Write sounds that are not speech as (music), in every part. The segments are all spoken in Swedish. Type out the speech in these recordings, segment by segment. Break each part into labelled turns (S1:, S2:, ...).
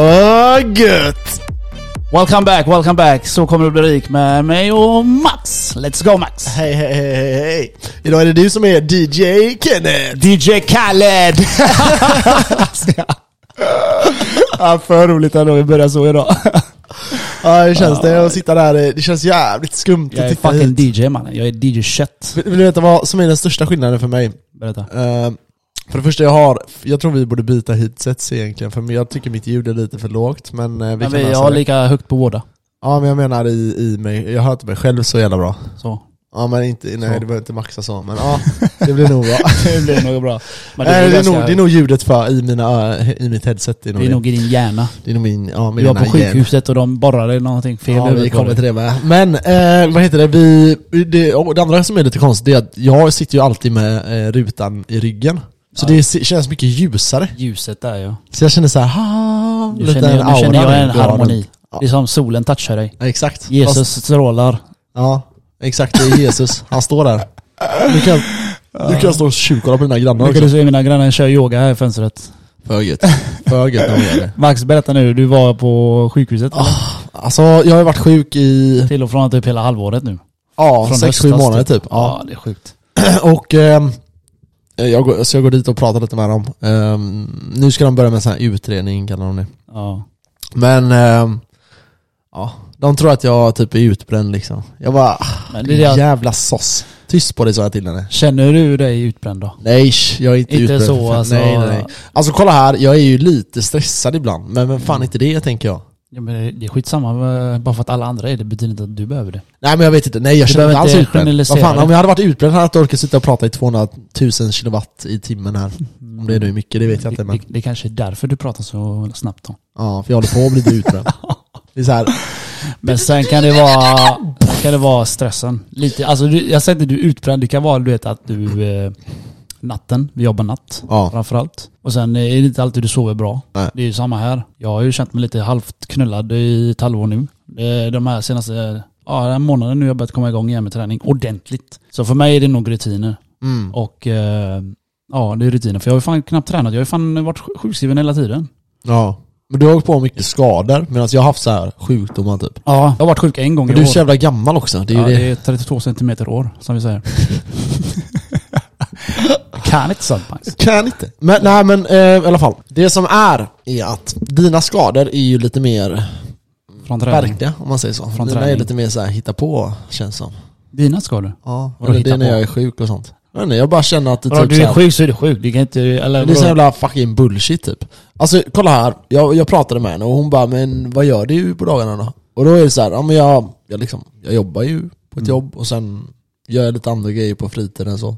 S1: vad gött!
S2: Welcome back, welcome back. Så kommer du bli rik med mig och Max. Let's go Max.
S1: Hej, hej, hej, hej, hej. Idag är det du som är DJ Kenneth.
S2: DJ
S1: (laughs)
S2: Khaled! ja, för roligt ändå vi börjar så idag.
S1: Ja, hur känns det att sitta där? Det känns jävligt skumt
S2: Jag
S1: att
S2: är
S1: titta hit.
S2: fucking DJ mannen. Jag är DJ Kött.
S1: Vill vill du veta vad som är den största skillnaden för mig?
S2: Berätta.
S1: Eh, för det första jag har, jag tror vi borde byta headsets egentligen, för jag tycker mitt ljud är lite för lågt, men eh, vi
S2: Men
S1: kan
S2: vi
S1: lösa
S2: har
S1: det.
S2: lika högt på båda.
S1: Ja, men jag menar i, i mig, jag hör inte mig själv så jävla bra.
S2: Så.
S1: Ja, men inte, nej,
S2: Så.
S1: det behöver inte maxa så, men ja, (laughs) det blir nog
S2: (laughs)
S1: bra.
S2: Det blir nog bra. Men
S1: Nej, det, är
S2: ganska-
S1: nog, det är nog ljudet för, i, mina, ö- i mitt headset. Det är nog,
S2: det är nog i din hjärna.
S1: det är nog min, ja,
S2: Vi
S1: min
S2: var på
S1: ena hjärna.
S2: sjukhuset och de borrade någonting fel
S1: Ja,
S2: i
S1: vi
S2: huvudet på
S1: kommer
S2: dig.
S1: till det med. Men, eh, vad heter det, vi, det, och det andra som är lite konstigt är att jag sitter ju alltid med eh, rutan i ryggen. Så
S2: Ja.
S1: det se- känns mycket ljusare.
S2: Ljuset där ja.
S1: Så jag känner såhär, ha
S2: Nu känner, jag- nu känner jag en harmoni.
S1: Ja.
S2: Det är som solen touchar dig.
S1: Ja, exakt.
S2: Jesus
S1: Fast-
S2: strålar.
S1: ja, exakt. Det är Jesus. Han står där. Nu kan, nu kan jag stå och tjuvkolla på dina grannar
S2: Nu kan
S1: också.
S2: du se mina grannar köra yoga här i fönstret.
S1: För gött. (laughs) För gött när de gör det.
S2: Max, berätta nu. Du var på sjukhuset eller?
S1: Alltså, jag har ju varit sjuk i,
S2: Till och från typ hela halvåret nu.
S1: ja,
S2: Från
S1: 6-7
S2: höstas
S1: månader typ. Ja.
S2: Ja, det är sjukt.
S1: (clears throat) Och ehm, jag, går, så jag går dit och pratar lite med dem. Ehm, nu ska de börja med en sån här utredning kallar de det.
S2: Ja.
S1: Men ehm, ja, de tror att jag typ är utbränd liksom. Jag bara, ah,
S2: Men det är det jag-
S1: jävla soss. Tyst på dig sa jag till henne.
S2: Känner du dig utbränd då?
S1: Nej, sh, jag är inte,
S2: Inte
S1: utbränd.
S2: så,
S1: för fan.
S2: alltså.
S1: Nej, nej, nej. Alltså kolla här, jag är ju lite stressad ibland. Men vem fan är inte det tänker jag.
S2: Ja, men det- det är skitsamma, eh, bara för att alla andra är det betyder inte att du behöver det.
S1: Nej men jag vet inte, nej jag
S2: Du
S1: känner mig
S2: behöver
S1: inte alls
S2: inte
S1: utbränd. Vad
S2: generalisera
S1: fan,
S2: det.
S1: om jag hade varit utbränd hade jag inte orkat sitta och prata i 200 000 kilowatt i timmen här. Om det nu är mycket, det vet jag inte men.
S2: Det, det kanske är därför du pratar så snabbt då.
S1: Ja, för jag håller på att bli lite utbränd. Det är så här,
S2: Men sen kan det vara, kan det vara stressen. Lite, alltså du, jag säger inte du är utbränd, det kan vara du vet att du eh, natten, vi jobbar natt
S1: Ja.
S2: framförallt. Och sen eh, är det inte alltid du sover bra.
S1: Nej.
S2: Det är ju samma här. Jag har ju känt mig lite halvt knullad i ett halvår nu. Eh, De här senaste, eh, ja den här månaden nu har jag börjat komma igång igen med träning ordentligt. Så för mig är det nog rutiner.
S1: mm.
S2: Och eh, ja det är rutiner. För jag har ju fan knappt tränat, jag har ju fan varit sj- sjukskriven hela tiden.
S1: ja. Men du har åkt på mycket skador, medan jag har haft så här sjukdomar typ.
S2: Ja. Jag har varit sjuk en gång
S1: Men
S2: i
S1: du är
S2: år.
S1: så jävla gammal också, det är ju
S2: ja,
S1: det.
S2: det är 32 centimeter år, som vi säger. (laughs) Jag kan inte sånt Max.
S1: Kan inte. Men nej men eh, i alla fall. Det som är, är att dina skador är ju lite mer
S2: Från träning.
S1: verkliga om man säger så.
S2: Från
S1: dina är
S2: träning.
S1: lite mer så här hitta på känns som.
S2: Dina skador?
S1: Ja,
S2: Vadå,
S1: eller det är
S2: hitta
S1: när
S2: på?
S1: jag är sjuk och sånt. Jag vet inte, jag bara känner att det
S2: Bra,
S1: typ så
S2: du är
S1: här-
S2: sjuk så är du sjuk. Du kan inte... Eller,
S1: Det är så
S2: vadå?
S1: jävla fucking bullshit typ. Alltså kolla här, jag, jag pratade med henne och hon bara 'Men vad gör du på dagarna då?' Och då är det så här, ja men jag, jag liksom, jag jobbar ju på ett
S2: Mm.
S1: jobb och sen gör jag lite andra grejer på fritiden så.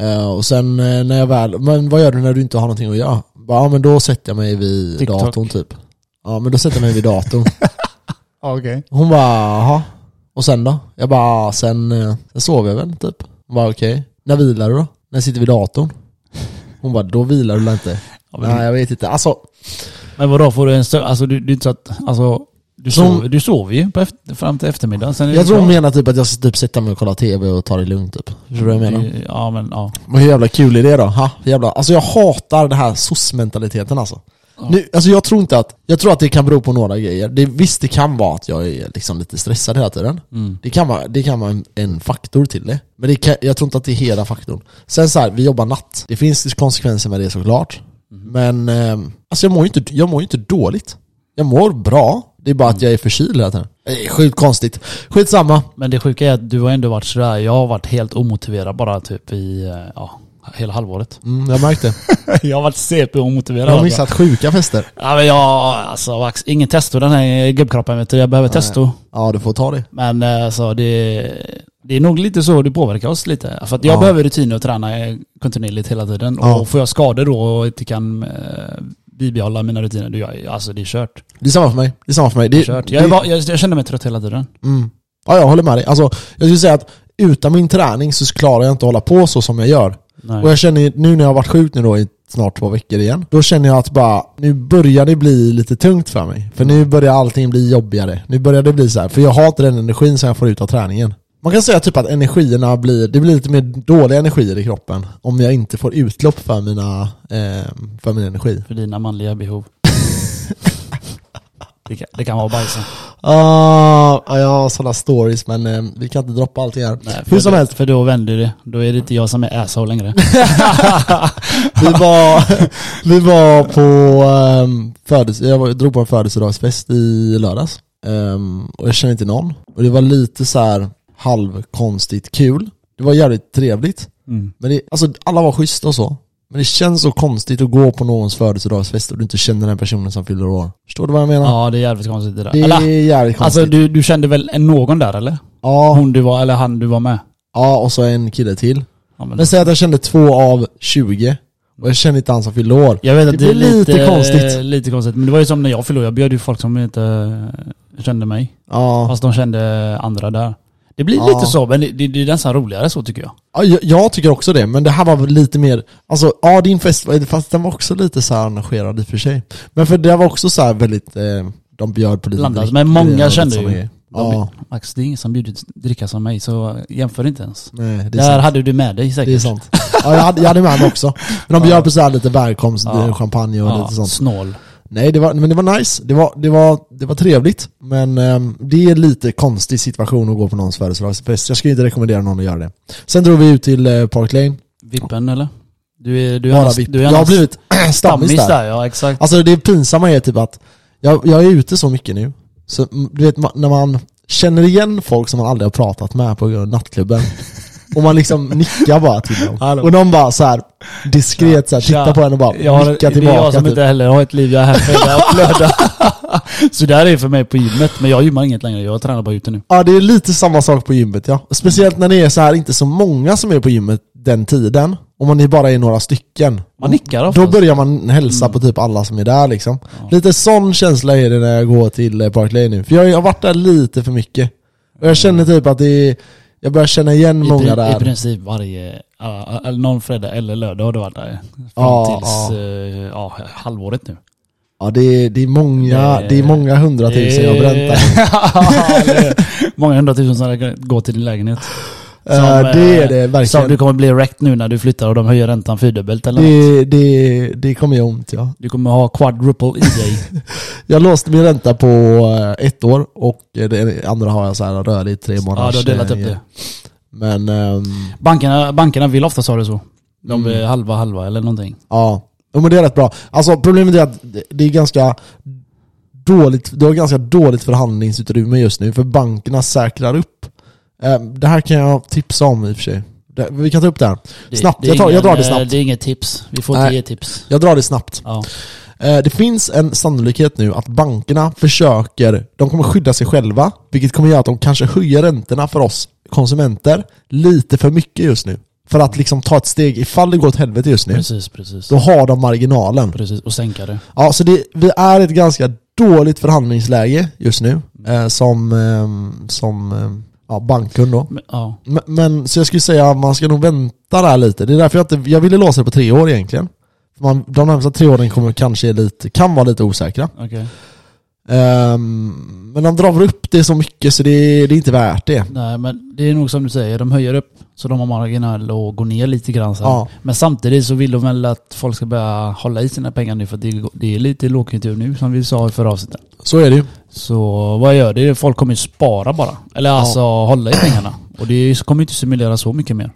S1: Eh, och sen eh, när jag väl, men vad gör du när du inte har någonting att göra? Bara, ja men då sätter jag mig vid
S2: TikTok.
S1: datorn typ. Ja men då sätter jag mig vid datorn.
S2: Ja, okej.
S1: Hon bara 'Jaha' Och sen då? Jag bara "Ja, 'Sen eh, sen sover jag väl' typ. Hon bara 'Okej, när vilar du då? När sitter vi vid datorn?' Hon bara 'Då vilar du väl inte?'
S2: Ja, men-
S1: Nej jag vet inte, alltså
S2: Men vadå, får du en större... Alltså du, du är inte så att... Alltså, du,
S1: Som-
S2: sover, du sover ju på efter, fram till eftermiddagen. Sen är det
S1: Jag tror hon
S2: bra.
S1: menar typ att jag ska typ sätta mig och kolla TV och ta det lugnt typ. Förstår du vad jag menar?
S2: Det- Ja, men ja.
S1: Men hur jävla kul är det då? Ha? Hur Jävla, alltså jag hatar den här soc-mentaliteten alltså. Nu, alltså jag tror inte att, jag tror att det kan bero på några grejer. Det, visst det kan vara att jag är liksom lite stressad hela tiden. Det kan vara, det kan vara en, en faktor till det. Men det kan, jag tror inte att det är hela faktorn. Sen så här, vi jobbar natt. Det finns konsekvenser med det såklart. Men ehm, alltså jag mår ju inte, jag mår ju inte dåligt. Jag mår bra. Det är bara att jag är förkyld hela tiden. Det är sjukt konstigt. Skitsamma.
S2: Men det sjuka är att du har ändå varit sådär. Jag har varit helt omotiverad bara typ i... eh, Ja, hela halvåret.
S1: Mm, (laughs) jag märkte.
S2: jag har varit CP-omotiverad. (laughs)
S1: Jag har missat sjuka fester.
S2: Ja, men jag... Alltså, Max, ingen testo den här gubbkroppen vet du. Jag behöver testo.
S1: Ja, du får ta det.
S2: Men eh, alltså, det, det är nog lite så det påverkar oss lite. För att jag
S1: Ja.
S2: behöver rutiner och träna eh, kontinuerligt hela tiden.
S1: Ja.
S2: Och får jag skador då och inte kan eh, bibehålla mina rutiner, då jag, alltså det är kört.
S1: Det är samma för mig. Det är samma för mig. Det,
S2: kört.
S1: det,
S2: Jag, är bara, jag, jag känner mig trött hela tiden.
S1: mm. Ja, jag håller med dig. Alltså, jag skulle säga att utan min träning så klarar jag inte att hålla på så som jag gör.
S2: Nej.
S1: Och jag känner nu när jag har varit sjuk nu då i snart två veckor igen, då känner jag att bara, nu börjar det bli lite tungt för mig. För
S2: Mm.
S1: nu börjar allting bli jobbigare. Nu börjar det bli så här, för jag har inte den energin som jag får ut av träningen. Man kan säga typ att energierna blir, det blir lite mer dåliga energier i kroppen om jag inte får utlopp för mina, eh, för min energi. (laughs)
S2: För dina manliga behov. Det kan, det kan vara bajsen.
S1: Ah, jag har sådana stories men eh, vi kan inte droppa allting här.
S2: Nej, för
S1: Hur som
S2: då,
S1: helst,
S2: För då vänder det. Då är det inte jag som är asshole längre.
S1: vi var, (laughs) vi var på um, födelse, jag var, drog på en födelsedagsfest i lördags. Ehm, och jag kände inte någon. Och det var lite så här halvkonstigt kul. Det var jävligt trevligt.
S2: Mm.
S1: Men det, alltså alla var schyssta och så. Men det känns så konstigt att gå på någons födelsedagsfest och du inte känner den personen som fyller år. Förstår du vad jag menar?
S2: (laughs) Ja, det är jävligt konstigt det där.
S1: Det är
S2: Eller,
S1: jävligt konstigt.
S2: alltså du, du kände väl någon där eller?
S1: ja,
S2: Hon du var, eller han du var med?
S1: ja, och så en kille till.
S2: Ja, men-
S1: Men säg att jag kände två av 20 och jag kände inte han som fyllde år.
S2: Jag vet att det,
S1: blir
S2: är lite,
S1: lite konstigt.
S2: konstigt. lite konstigt. Men det var ju som när jag fyllde år. Jag bjöd ju folk som inte eh, kände mig.
S1: Ja.
S2: Fast de kände andra där. Det blir
S1: Ja.
S2: lite så, men det, det, det är nästan roligare så tycker jag.
S1: Ja, jag, jag tycker också det, men det här var väl lite mer, alltså ja din fest, var- fast den var också lite så här arrangerad i och för sig. Men för det var också så här väldigt, eh, de bjöd på lite
S2: Blandat,
S1: drick-
S2: men många
S1: grejer och lite
S2: kände
S1: såna
S2: ju.
S1: grejer.
S2: De-
S1: Ja,
S2: Max, det är ingen som bjudit dricka som mig, så jämför inte ens.
S1: nej det
S2: Där
S1: är sant.
S2: hade du med dig säkert.
S1: Det är sant. Ja, jag, hade, jag hade med honom också.
S2: (laughs)
S1: Men de bjöd på så här lite välkomst,
S2: Ja.
S1: eh, champagne och
S2: Ja,
S1: lite sånt.
S2: snål.
S1: Nej, det var, men det var nice. Det var, det var, det var trevligt. Men ehm, det är lite konstig situation att gå på någons födelsedagsfest. Jag skulle inte rekommendera någon att göra det. Sen drog vi ut till eh, Park Lane.
S2: Vippen eller? Du är, du är
S1: Bara
S2: annars,
S1: vi,
S2: du är
S1: jag har
S2: annars
S1: blivit (clears throat) stammis där.
S2: ja exakt.
S1: Alltså det pinsamma är typ att jag, jag är ute så mycket nu. Så mm, du vet, ma- när man känner igen folk som man aldrig har pratat med på grund av
S2: (laughs)
S1: nattklubben. Och man liksom nickar bara till dem.
S2: Hallå.
S1: Och de bara så här diskret så här, tittar
S2: Tja.
S1: på en och bara
S2: Jag har-
S1: nickar
S2: Det är
S1: tillbaka.
S2: jag som
S1: typ.
S2: inte heller har ett liv, jag är
S1: (laughs)
S2: här fredag och lördag. (laughs) så där är det för mig på gymmet, men jag gymmar inget längre, jag tränar bara ute nu.
S1: Ja det är lite samma sak på gymmet ja. Och Speciellt när det är så här inte så många som är på gymmet den tiden. Om man är bara är några stycken.
S2: Man nickar
S1: Då
S2: oftast. Mm.
S1: börjar man hälsa på typ alla som är där liksom. Lite sån känsla är det när jag går till eh, Park Lane nu. För jag jag har varit där lite för mycket. Och jag känner typ att det är, jag börjar känna igen
S2: I,
S1: många
S2: pri- I
S1: där.
S2: princip varje, ja, eller någon fredag eller lördag har du varit där. Fram
S1: Ja,
S2: tills
S1: ja.
S2: eh, ja, halvåret nu.
S1: Ja det är, det är många,
S2: Det-
S1: det är många hundratusen jag har bränt där.
S2: där. (laughs) Många hundratusen som går till din lägenhet.
S1: Eh, det är det
S2: eh, Som du
S1: verkligen.
S2: kommer bli wrecked nu när du flyttar och de höjer räntan fyrdubbelt eller något.
S1: Det, det, det kommer göra ont ja.
S2: Du kommer ha quadruple E
S1: (laughs)
S2: i dig.
S1: Jag låste min ränta på eh, ett år och eh, det andra har jag så här rörlig i tre eh, månader.
S2: ja, du har delat upp det.
S1: Men ehm,
S2: Bankerna, bankerna vill oftast ha det så. De
S1: Mm.
S2: är halva halva eller någonting.
S1: ja, Jo, men det är rätt bra. Alltså problemet är att det- det är ganska dåligt, du har ganska dåligt förhandlingsutrymme just nu för bankerna säkrar upp. Eh, Det här kan jag tipsa om i och för sig. Det- Vi kan ta upp det här.
S2: Det,
S1: Snabbt,
S2: det är
S1: jag, tar, jag
S2: ingen,
S1: drar det
S2: eh,
S1: snabbt.
S2: Det är inget tips. Vi får inte
S1: Nej.
S2: ge tips.
S1: Jag drar det snabbt.
S2: Ja.
S1: Eh, Det finns en sannolikhet nu att bankerna försöker, de kommer skydda sig själva, vilket kommer göra att de kanske höjer räntorna för oss konsumenter lite för mycket just nu. För att liksom ta ett steg, ifall det går åt helvete just nu,
S2: Precis, precis.
S1: då har de marginalen.
S2: Precis, och sänka det.
S1: Ja, så det, vi är i ett ganska dåligt förhandlingsläge just nu, eh, som, eh, som eh, ja, bankkund då.
S2: Men, ja.
S1: Men, men så jag skulle säga att man ska nog vänta där lite. Det är därför jag inte, jag ville låsa det på tre år egentligen. För Man, de närmaste tre åren kommer kanske lite, kan vara lite osäkra.
S2: Okej.
S1: Ehm, men de drar väl upp det så mycket så det, det är inte värt det.
S2: Nej men det är nog som du säger, de höjer upp så de har marginal och går ner lite grann sen.
S1: Ja.
S2: Men samtidigt så vill de väl att folk ska börja hålla i sina pengar nu för att det, det är lite lågkonjunktur nu som vi sa i förra avsnittet.
S1: Så är det ju.
S2: Så vad gör det? Folk kommer ju spara bara. Eller alltså hålla i pengarna. Och det är- kommer ju inte stimulera så mycket mer.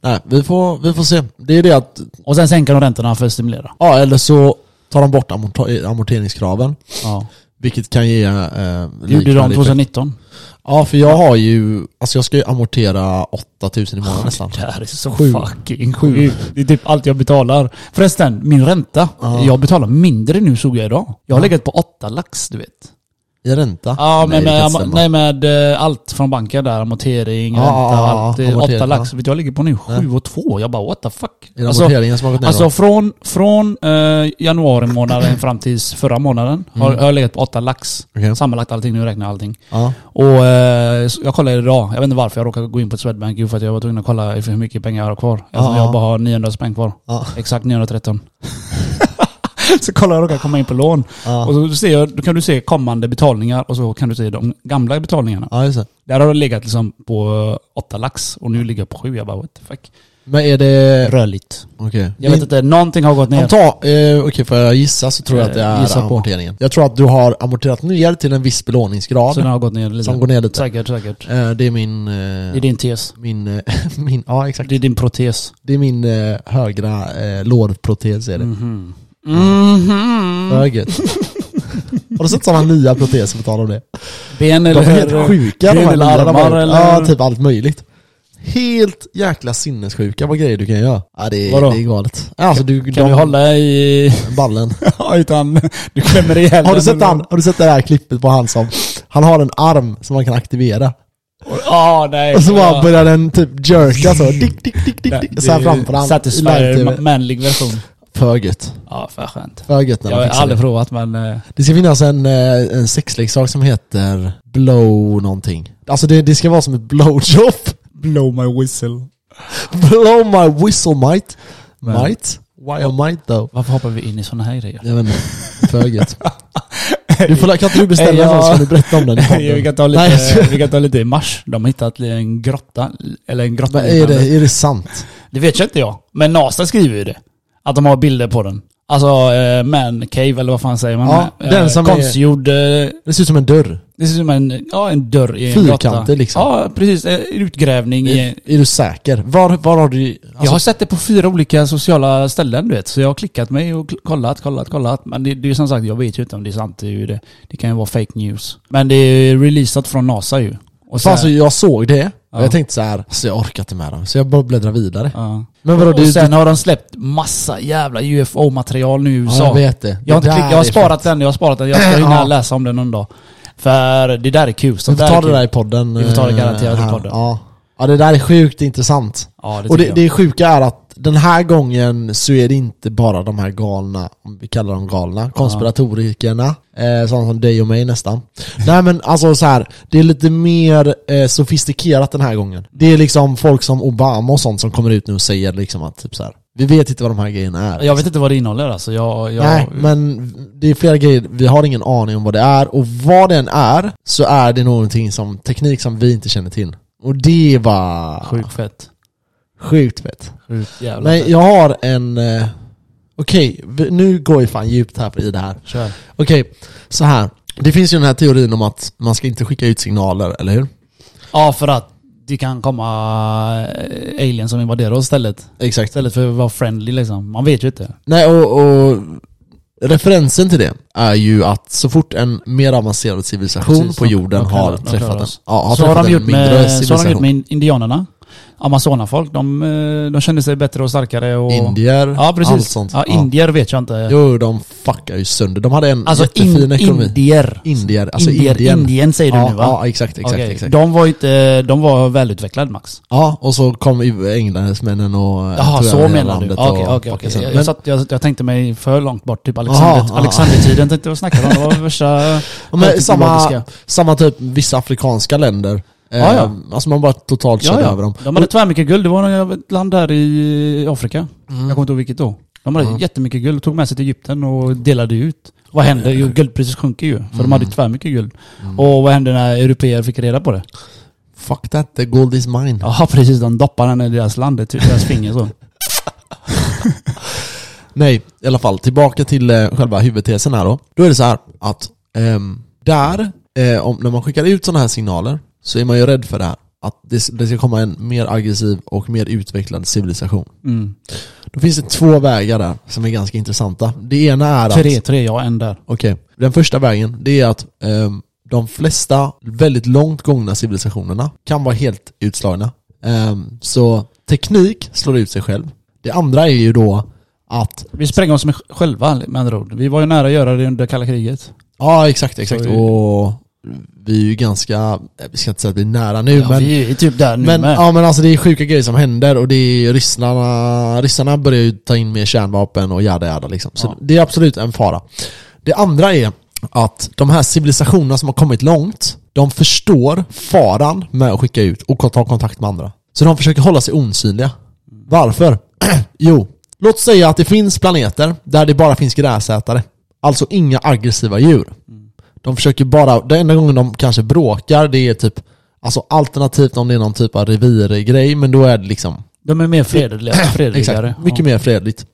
S1: Nej, vi får, vi får se. Det är det att,
S2: Och sen sänker de räntorna för att stimulera.
S1: ja eller så tar de bort amorta- amorteringskraven.
S2: Ja.
S1: Vilket kan ge eh,
S2: Det gjorde de
S1: liknande effekt.
S2: 2019.
S1: Ja, för jag har ju, alltså jag ska ju amortera 8000 i
S2: Ah,
S1: månaden nästan.
S2: Det här är så
S1: Sju.
S2: fucking sjukt. Det är typ allt jag betalar. Förresten, min ränta.
S1: Ja.
S2: Jag betalar mindre nu såg jag idag. Jag har
S1: Ja.
S2: legat på åtta lax du vet.
S1: I ränta?
S2: Ja, men
S1: det kan
S2: med,
S1: inte stämma.
S2: nej, med eh, allt från banken där, amortering,
S1: Ja,
S2: ränta,
S1: ja, ja,
S2: allt. eh,
S1: amortering,
S2: Åtta
S1: ja.
S2: lax. Vet du, jag ligger på nu sju och två. Jag bara what the fuck.
S1: Är det
S2: Alltså,
S1: amorteringen som har gått ner
S2: alltså
S1: då?
S2: från, från eh, januari månaden fram till förra månaden har har jag legat på åtta lax.
S1: Okej.
S2: Sammanlagt allting, nu räknar jag allting.
S1: Ja.
S2: Och eh, så jag kollade idag, jag vet inte varför jag råkade gå in på Swedbank, jo för att jag var tvungen att kolla hur mycket pengar jag har kvar. Eftersom
S1: Ja, ja.
S2: jag bara har 900 spänn kvar.
S1: Ja. (laughs)
S2: Exakt 913. så kollade jag och råkade komma in på lån. Och
S1: Ja.
S2: så ser jag, då kan du se kommande betalningar och så kan du se de gamla betalningarna.
S1: ja, just det.
S2: Där har det legat liksom på eh, åtta lax och nu ligger jag på sju. Jag bara what the fuck.
S1: Men är det...
S2: Rörligt.
S1: Okej.
S2: Jag vet inte, någonting har gått
S1: Om
S2: ner.
S1: ta, eh, okej får jag gissa så tror jag att det
S2: Eh,
S1: är
S2: gissa på.
S1: amorteringen. Jag tror att du har amorterat ner till en viss belåningsgrad.
S2: Så den har gått ner lite.
S1: som går ner lite.
S2: Säkert, säkert.
S1: Eh, det är min... Eh,
S2: Det är din tes.
S1: Min, eh, (laughs) min... Ja exakt.
S2: Det är din protes.
S1: Det är min eh, högra eh, lårprotes är det.
S2: Mhm. Mhm.
S1: Höger. (laughs) har du sett sådana nya proteser på tal om det?
S2: Ben eller...
S1: De är helt sjuka de
S2: ben
S1: här
S2: eller
S1: nya de har
S2: armar
S1: gjort.
S2: eller...
S1: Ja, typ allt möjligt. Helt jäkla sinnessjuka vad grejer du kan göra. Ja det är,
S2: Vadå?
S1: det är galet. Alltså du...
S2: Kan vi hålla i...
S1: Ballen.
S2: (laughs) Ja, utan du klämmer ihjäl
S1: Har du,
S2: den
S1: sett
S2: eller-
S1: han, har du sett det här klippet på han som, han har en arm som man kan aktivera.
S2: Ja, nej.
S1: Och så bara
S2: Ja.
S1: börjar den typ jerka så, dick, dick, dick, dick,
S2: Nej,
S1: dick. Så här
S2: det-
S1: framför han. typ. I
S2: Satisfyer,
S1: live-tv.
S2: ma- manlig version.
S1: För gött.
S2: Ja, för skönt.
S1: För gött när
S2: Jag
S1: man
S2: har
S1: fixar
S2: aldrig
S1: det.
S2: provat men... eh,
S1: Det ska finnas en, eh, en sexleksak som heter blow någonting. Alltså det, det ska vara som ett blowjob. (laughs)
S2: Blow my whistle.
S1: Blow my whistle might.
S2: Men-
S1: Might? Why a might though?
S2: Varför hoppar vi in i sådana här grejer?
S1: Jag vet inte. För
S2: (laughs)
S1: gött. Du får, kan inte du beställa
S2: Hey,
S1: den
S2: ja.
S1: först? Kan du berätta om den
S2: (laughs)
S1: i podden?
S2: (laughs) vi, kan ta lite,
S1: Nej, jag skojar.
S2: vi kan ta lite i mars. De har hittat en grotta, eller en grotta
S1: Men är det, är det sant?
S2: det vet jag inte jag. Men NASA skriver ju det. Att de har bilder på den. Alltså eh, man cave eller vad fan säger man?
S1: Ja,
S2: Eh,
S1: den som är-
S2: konstgjord... eh,
S1: Det ser ut som en dörr.
S2: Det ser ut som en, ja, en dörr i en
S1: Fyrkantig
S2: grotta.
S1: liksom.
S2: Ja, precis. eh, Utgrävning i en,
S1: Är, är du säker? Var, var har du... Alltså,
S2: jag har sett det på fyra olika sociala ställen du vet, så jag har klickat mig och kl- kollat, kollat, kollat. Men det, det är ju som sagt, jag vet ju inte om det är sant. Det, är ju det. det kan ju vara fake news. Men det är ju releasat från NASA ju. Och
S1: fan, så jag såg det, och
S2: Ja.
S1: jag tänkte så här, alltså jag orkar inte med dem. Så jag bara bläddrar vidare.
S2: ja.
S1: Men vadå,
S2: och
S1: du...
S2: sen har de släppt massa jävla UFO-material nu i
S1: ja,
S2: USA.
S1: jag vet det.
S2: Jag har, inte
S1: Det där
S2: klick, jag har
S1: är
S2: sparat den, jag har sparat den. Jag ska hinna
S1: Ja.
S2: läsa om den någon dag. För det där är kul.
S1: fan-
S2: Sånt
S1: Vi får ta
S2: är
S1: det
S2: kul.
S1: där i podden.
S2: Vi får ta det
S1: eh,
S2: garanterat i
S1: här.
S2: podden.
S1: Ja. ja, det där är sjukt intressant.
S2: Ja, det
S1: och
S2: tycker
S1: det, det
S2: jag.
S1: sjuka är att den här gången så är det inte bara de här galna, om vi kallar dem galna, konspiratorikerna. Eh, sådana som dig och mig nästan. Nej men alltså så här, det är lite mer eh, sofistikerat den här gången. Det är liksom folk som Obama och sånt som kommer ut nu och säger liksom att typ så här, vi vet inte vad de här grejerna är.
S2: Jag vet inte vad det innehåller alltså. Jag, jag,
S1: Nej, men det är flera grejer, vi har ingen aning om vad det är och vad den är så är det någonting som, teknik som vi inte känner till. Och det var
S2: Sjukt fett.
S1: sjukt fett.
S2: Sjukt jävla
S1: Nej,
S2: fett.
S1: jag har en... eh, Okej, vi- nu går vi fan djupt här i det här.
S2: Kör.
S1: Okej, så här. Det finns ju den här teorin om att man ska inte skicka ut signaler, eller hur?
S2: Ja, för att det kan komma eh, aliens som invaderar oss istället.
S1: Exakt.
S2: Istället för att vara friendly liksom. Man vet ju inte.
S1: Nej, och, och referensen till det är ju att så fort en mer avancerad civilisation
S2: Precis,
S1: på
S2: de-
S1: jorden
S2: de klarar-
S1: har
S2: de klarar
S1: träffat en,
S2: oss.
S1: ja, har
S2: så,
S1: träffat
S2: har de
S1: en
S2: gjort
S1: mindre
S2: med, så har de gjort
S1: civilisation.
S2: med in- indianerna. Amazonafolk, de, eh, de kände sig bättre och starkare och...
S1: Indier,
S2: Ja, precis.
S1: allt sånt.
S2: Ja, indier vet jag inte.
S1: Jo, de fuckar ju sönder. De hade en
S2: alltså
S1: jättefin
S2: in,
S1: ekonomi.
S2: indier.
S1: indier, alltså
S2: indier,
S1: Indien.
S2: Indien säger
S1: ja,
S2: du nu va?
S1: ja, exakt, exakt,
S2: Okej,
S1: exakt.
S2: De var inte, de var välutvecklade Max.
S1: Ja, och så kom ju engelsmännen och eh,
S2: Jaha,
S1: tog
S2: så
S1: över hela
S2: menar du?
S1: landet
S2: Okej,
S1: och
S2: okej,
S1: fuckade
S2: okej.
S1: sönder.
S2: Jag,
S1: Men-
S2: jag, satt- jag, jag tänkte mig för långt bort, typ
S1: Jaha,
S2: Alexander,
S1: ja.
S2: Alexandertiden tänkte jag snacka om. Vad var värsta...
S1: Ja, Men samma,
S2: antikologiska.
S1: samma typ vissa afrikanska länder. Eh,
S2: Ja, ja.
S1: Alltså man bara totalt (laughs) körde över dem.
S2: De hade tvärmycket guld. Det var något jävla land där i Afrika.
S1: Mm.
S2: Jag kommer inte ihåg vilket då. De hade jättemycket guld och tog med sig till Egypten och delade ut. Vad hände? Jo, guldpriset sjunker ju. För de
S1: Mm.
S2: hade ju tvärmycket guld. Och vad hände när europeer fick reda på det?
S1: Fuck that, the gold is mine.
S2: Ja precis, de doppade den i deras land, i deras
S1: (laughs)
S2: finger så.
S1: Nej, i alla fall tillbaka till eh, själva huvudtesen här då. Då är det så här att ehm, där, eh, om, när man skickar ut sådana här signaler så är man ju rädd för det här. Att det, det ska komma en mer aggressiv och mer utvecklad civilisation.
S2: Mm.
S1: Då finns det två vägar där som är ganska intressanta. Det ena är att...
S2: Tre, tre, ja en där.
S1: Okej. Den första vägen, det är att ehm, de flesta väldigt långt gångna civilisationerna kan vara helt utslagna. Ehm, så teknik slår ut sig själv. Det andra är ju då att...
S2: Vi sprängde oss med själva med andra ord. Vi var ju nära att göra det under kalla kriget.
S1: Ja, exakt, exakt.
S2: Så-
S1: Och vi är ju ganska... eh, Vi ska inte säga att vi är nära nu,
S2: Ja,
S1: men...
S2: vi är ju typ där nu
S1: Men,
S2: med.
S1: ja, men alltså det är sjuka grejer som händer och det är ryssarna, ryssarna börjar ju ta in mer kärnvapen och jada jada liksom. Så
S2: Ja.
S1: det är absolut en fara. Det andra är att de här civilisationerna som har kommit långt, de förstår faran med att skicka ut och ta kontakt med andra. Så de försöker hålla sig osynliga. Varför? (clears throat) jo, låt säga att det finns planeter där det bara finns gräsätare. Alltså inga aggressiva djur. De försöker bara, den enda gången de kanske bråkar det är typ Alltså alternativt om det är någon typ av revirgrej men då är det liksom
S2: De är mer fredliga. fredligare.
S1: (clears throat) Exakt, mycket mer fredligt.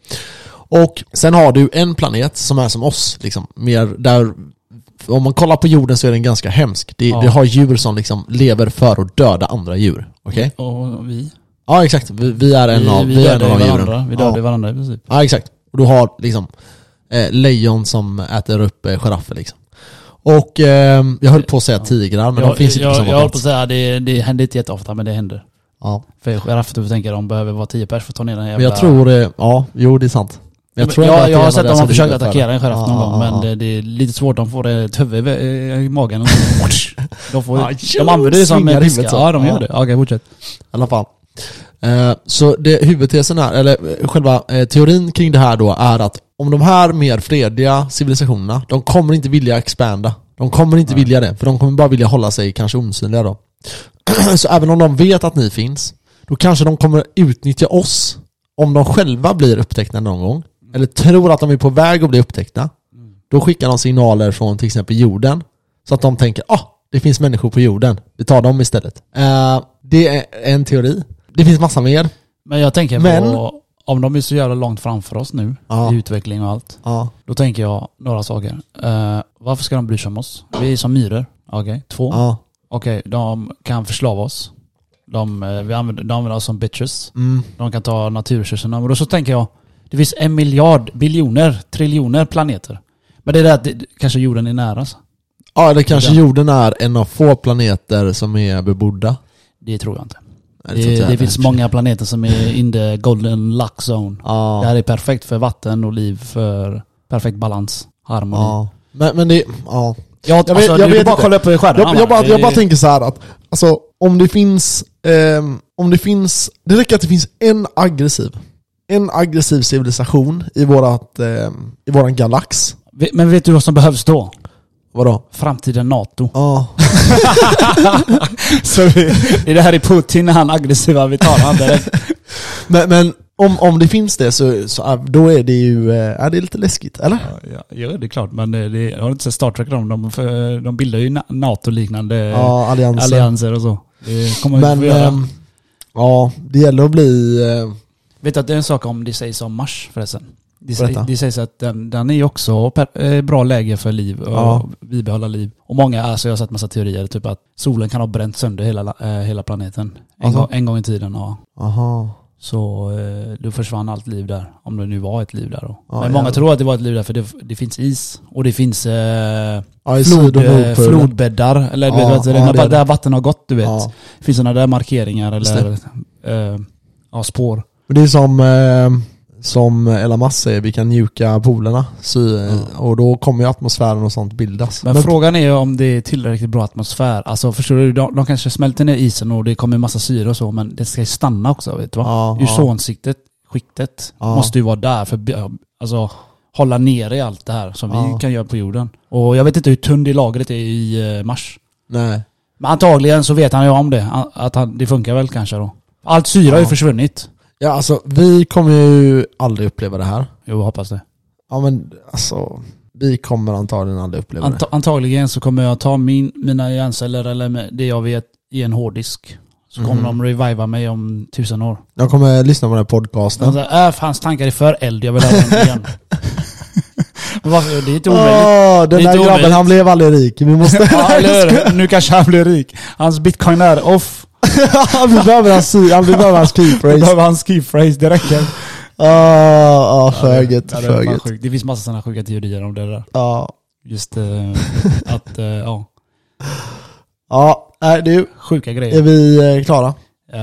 S1: Och sen har du en planet som är som oss, liksom, mer där om man kollar på jorden så är den ganska hemsk. Det,
S2: Ja.
S1: det har djur som liksom lever för att döda andra djur. Okej?
S2: Ja. Och vi.
S1: Ja exakt, vi, vi är en
S2: Mm. vi,
S1: av,
S2: vi,
S1: vi är en
S2: dödar
S1: av
S2: ju
S1: djuren.
S2: varandra. Vi
S1: Ja.
S2: dödar ju varandra i princip.
S1: Ja exakt. Och du har liksom eh, lejon som äter upp eh, giraffer liksom. Och ehm, jag höll på att säga tigrar men de
S2: jag,
S1: finns inte på
S2: jag,
S1: samma
S2: jag höll på att
S1: plats.
S2: säga, det, det händer inte jätteofta men det händer.
S1: Ja.
S2: För girafftuber tänker de behöver vara 10 pers för att ta ner den jävla...
S1: Men jag tror, eh, ja jo det är sant. Men
S2: Jag,
S1: jag, tror ändå
S2: jag,
S1: att det är en
S2: har
S1: av
S2: sett
S1: det
S2: dem
S1: som
S2: de försöker
S1: ligger för.
S2: attackera en giraff någon
S1: Ja, ja,
S2: gång men
S1: ja.
S2: det, det är lite svårt. De får ett huvud i- i
S1: (laughs)
S2: magen. och- De, får,
S1: Ja,
S2: de använder det som
S1: Ah, svingar
S2: en
S1: i
S2: piska.
S1: huvudet så.
S2: Ja, de
S1: Ja.
S2: gör det. Ja, Okej, fortsätt.
S1: I alla fall. Eh, Så det, huvudtesen är, eller eh, själva eh, teorin kring det här då är att om de här mer fredliga civilisationerna, de kommer inte vilja expanda. De kommer inte vilja det, för de kommer bara vilja hålla sig kanske osynliga då. (clears throat) Så även om de vet att ni finns, då kanske de kommer utnyttja oss om de själva blir upptäckta någon gång. Eller tror att de är på väg att bli
S2: Mm.
S1: upptäckta. Då skickar de signaler från till exempel jorden. Så att de tänker, ah, det finns människor på jorden. Vi tar dem istället. Eh, det är en teori. Det finns massa mer.
S2: Men jag tänker
S1: Men-
S2: på, om de är så jävla långt framför oss nu
S1: Ja.
S2: i utveckling och allt.
S1: Ja.
S2: Då tänker jag några saker. Eh, varför ska de bry sig om oss? Vi är som myror. Okej, två.
S1: Ja.
S2: Okej, de kan förslava oss. De, eh, vi använder, de använder oss som bitches.
S1: Mm.
S2: De kan ta naturresurserna. Men då så tänker jag, det finns en miljard, biljoner, triljoner planeter. Men det är det att det, kanske jorden är nära. alltså.
S1: ja, eller kanske
S2: Ja.
S1: jorden är en av få planeter som är bebodda.
S2: Det tror jag inte.
S1: Nej, tror inte
S2: Det,
S1: jag
S2: det
S1: heller.
S2: finns många planeter som är in the golden luck zone.
S1: Ja.
S2: Det här är perfekt för vatten och liv, för perfekt balans, harmoni.
S1: ja. Men, men det, ja.
S2: Jag,
S1: vet- jag
S2: alltså, du,
S1: vet
S2: du bara
S1: inte.
S2: kolla upp i stjärnorna.
S1: jag, jag, bara,
S2: Det-
S1: jag bara tänker så här att, alltså om det finns, ehm, om det finns, det räcker att det finns en aggressiv, en aggressiv civilisation i vårat, ehm, i våran galax.
S2: Vi- Men vet du vad som behövs då?
S1: Vadå?
S2: Framtiden NATO. (laughs)
S1: Ja.
S2: Det här är Putin, han aggressiva vi talar om direkt.
S1: Men, men om, om det finns det så, så är- då är det ju, eh, är det lite läskigt, eller?
S2: (laughs) Ja, ja, det är klart. Men eh, det, jag har inte sett Star Trek om dem. För eh, de bildar ju na- NATO-liknande eh,
S1: Ja, alliansen.
S2: allianser och så. Det kommer vi
S1: Men,
S2: få göra.
S1: ehm, ja, det gäller att bli, eh,
S2: Vet du att det är en sak om det sägs om Mars förresten? Det, sä-
S1: Berätta.
S2: det sägs att den, den är ju också per, eh, bra läge för liv och
S1: Ja.
S2: bibehålla liv. Och många, alltså jag har sett massa teorier, typ att solen kan ha bränt sönder hela, la- eh, hela planeten. En,
S1: Alltså?
S2: gång, en gång i tiden, ja.
S1: aha.
S2: Så eh, då försvann allt liv där, om det nu var ett liv där då.
S1: Ja,
S2: Men många
S1: jävlar.
S2: tror att det var ett liv där för det, det finns is och det finns eh,
S1: Ja, i
S2: flod,
S1: Syd och
S2: eh,
S1: Nordpolen.
S2: flodbäddar. Eller du
S1: Ja,
S2: vet, vet, du,
S1: ja,
S2: när
S1: det är det.
S2: där vatten har gått, du vet.
S1: Ja.
S2: Det finns sådana där markeringar
S1: Just
S2: eller eh, ja, spår.
S1: Men det är som, eh, som Elon Musk säger, vi kan mjuka polerna. Så, eh, Och då kommer ju atmosfären och sånt bildas.
S2: Men, frågan är ju om det är tillräckligt bra atmosfär. Alltså förstår du, de, de kanske smälter ner isen och det kommer massa syre och så men det ska ju stanna också vet du va?
S1: Ja, ja.
S2: Ozonskiktet, skiktet,
S1: Ja.
S2: måste ju vara där för att alltså, hålla nere i allt det här som
S1: Ja.
S2: vi kan göra på jorden. Och jag vet inte hur tunn det lagret är i eh, Mars.
S1: Nej.
S2: Men antagligen så vet han ju om det, a- att han, det funkar väl kanske då. Allt syre har ju
S1: Ja.
S2: försvunnit.
S1: Ja, alltså vi kommer ju aldrig uppleva det här.
S2: Jo, jag hoppas det.
S1: Ja men alltså, vi kommer antagligen aldrig uppleva
S2: Anta- antagligen så kommer jag ta min, mina hjärnceller eller med- det jag vet i en hårddisk. Så kommer
S1: Mhm.
S2: de reviva mig om tusen år.
S1: det. Jag kommer lyssna på den här podcasten.
S2: De säger, äh, hans tankar är för eld, jag vill ha dem
S1: (laughs)
S2: igen. Men varför? Det är inte omöjligt.
S1: Åh, den
S2: Det är
S1: där
S2: inte
S1: grabben
S2: omöjligt.
S1: han blev aldrig rik. Vi måste...
S2: (laughs)
S1: (laughs)
S2: Ja, eller hur? Nu kanske han blir rik. Hans bitcoin är off.
S1: vi behöver hans, vi behöver hans key
S2: Då (laughs)
S1: phrase.
S2: behöver han skiphrase,
S1: (laughs)
S2: det räcker.
S1: Ja,
S2: Ja,
S1: för
S2: det-
S1: gött,
S2: ja, det är
S1: för
S2: fan
S1: gött.
S2: sjukt. Det finns massa sådana sjuka teorier om det där.
S1: Ja.
S2: Just eh, att, eh, ja,
S1: Ja, nej du.
S2: sjuka
S1: Är
S2: grejer.
S1: vi eh, klara?
S2: Eh,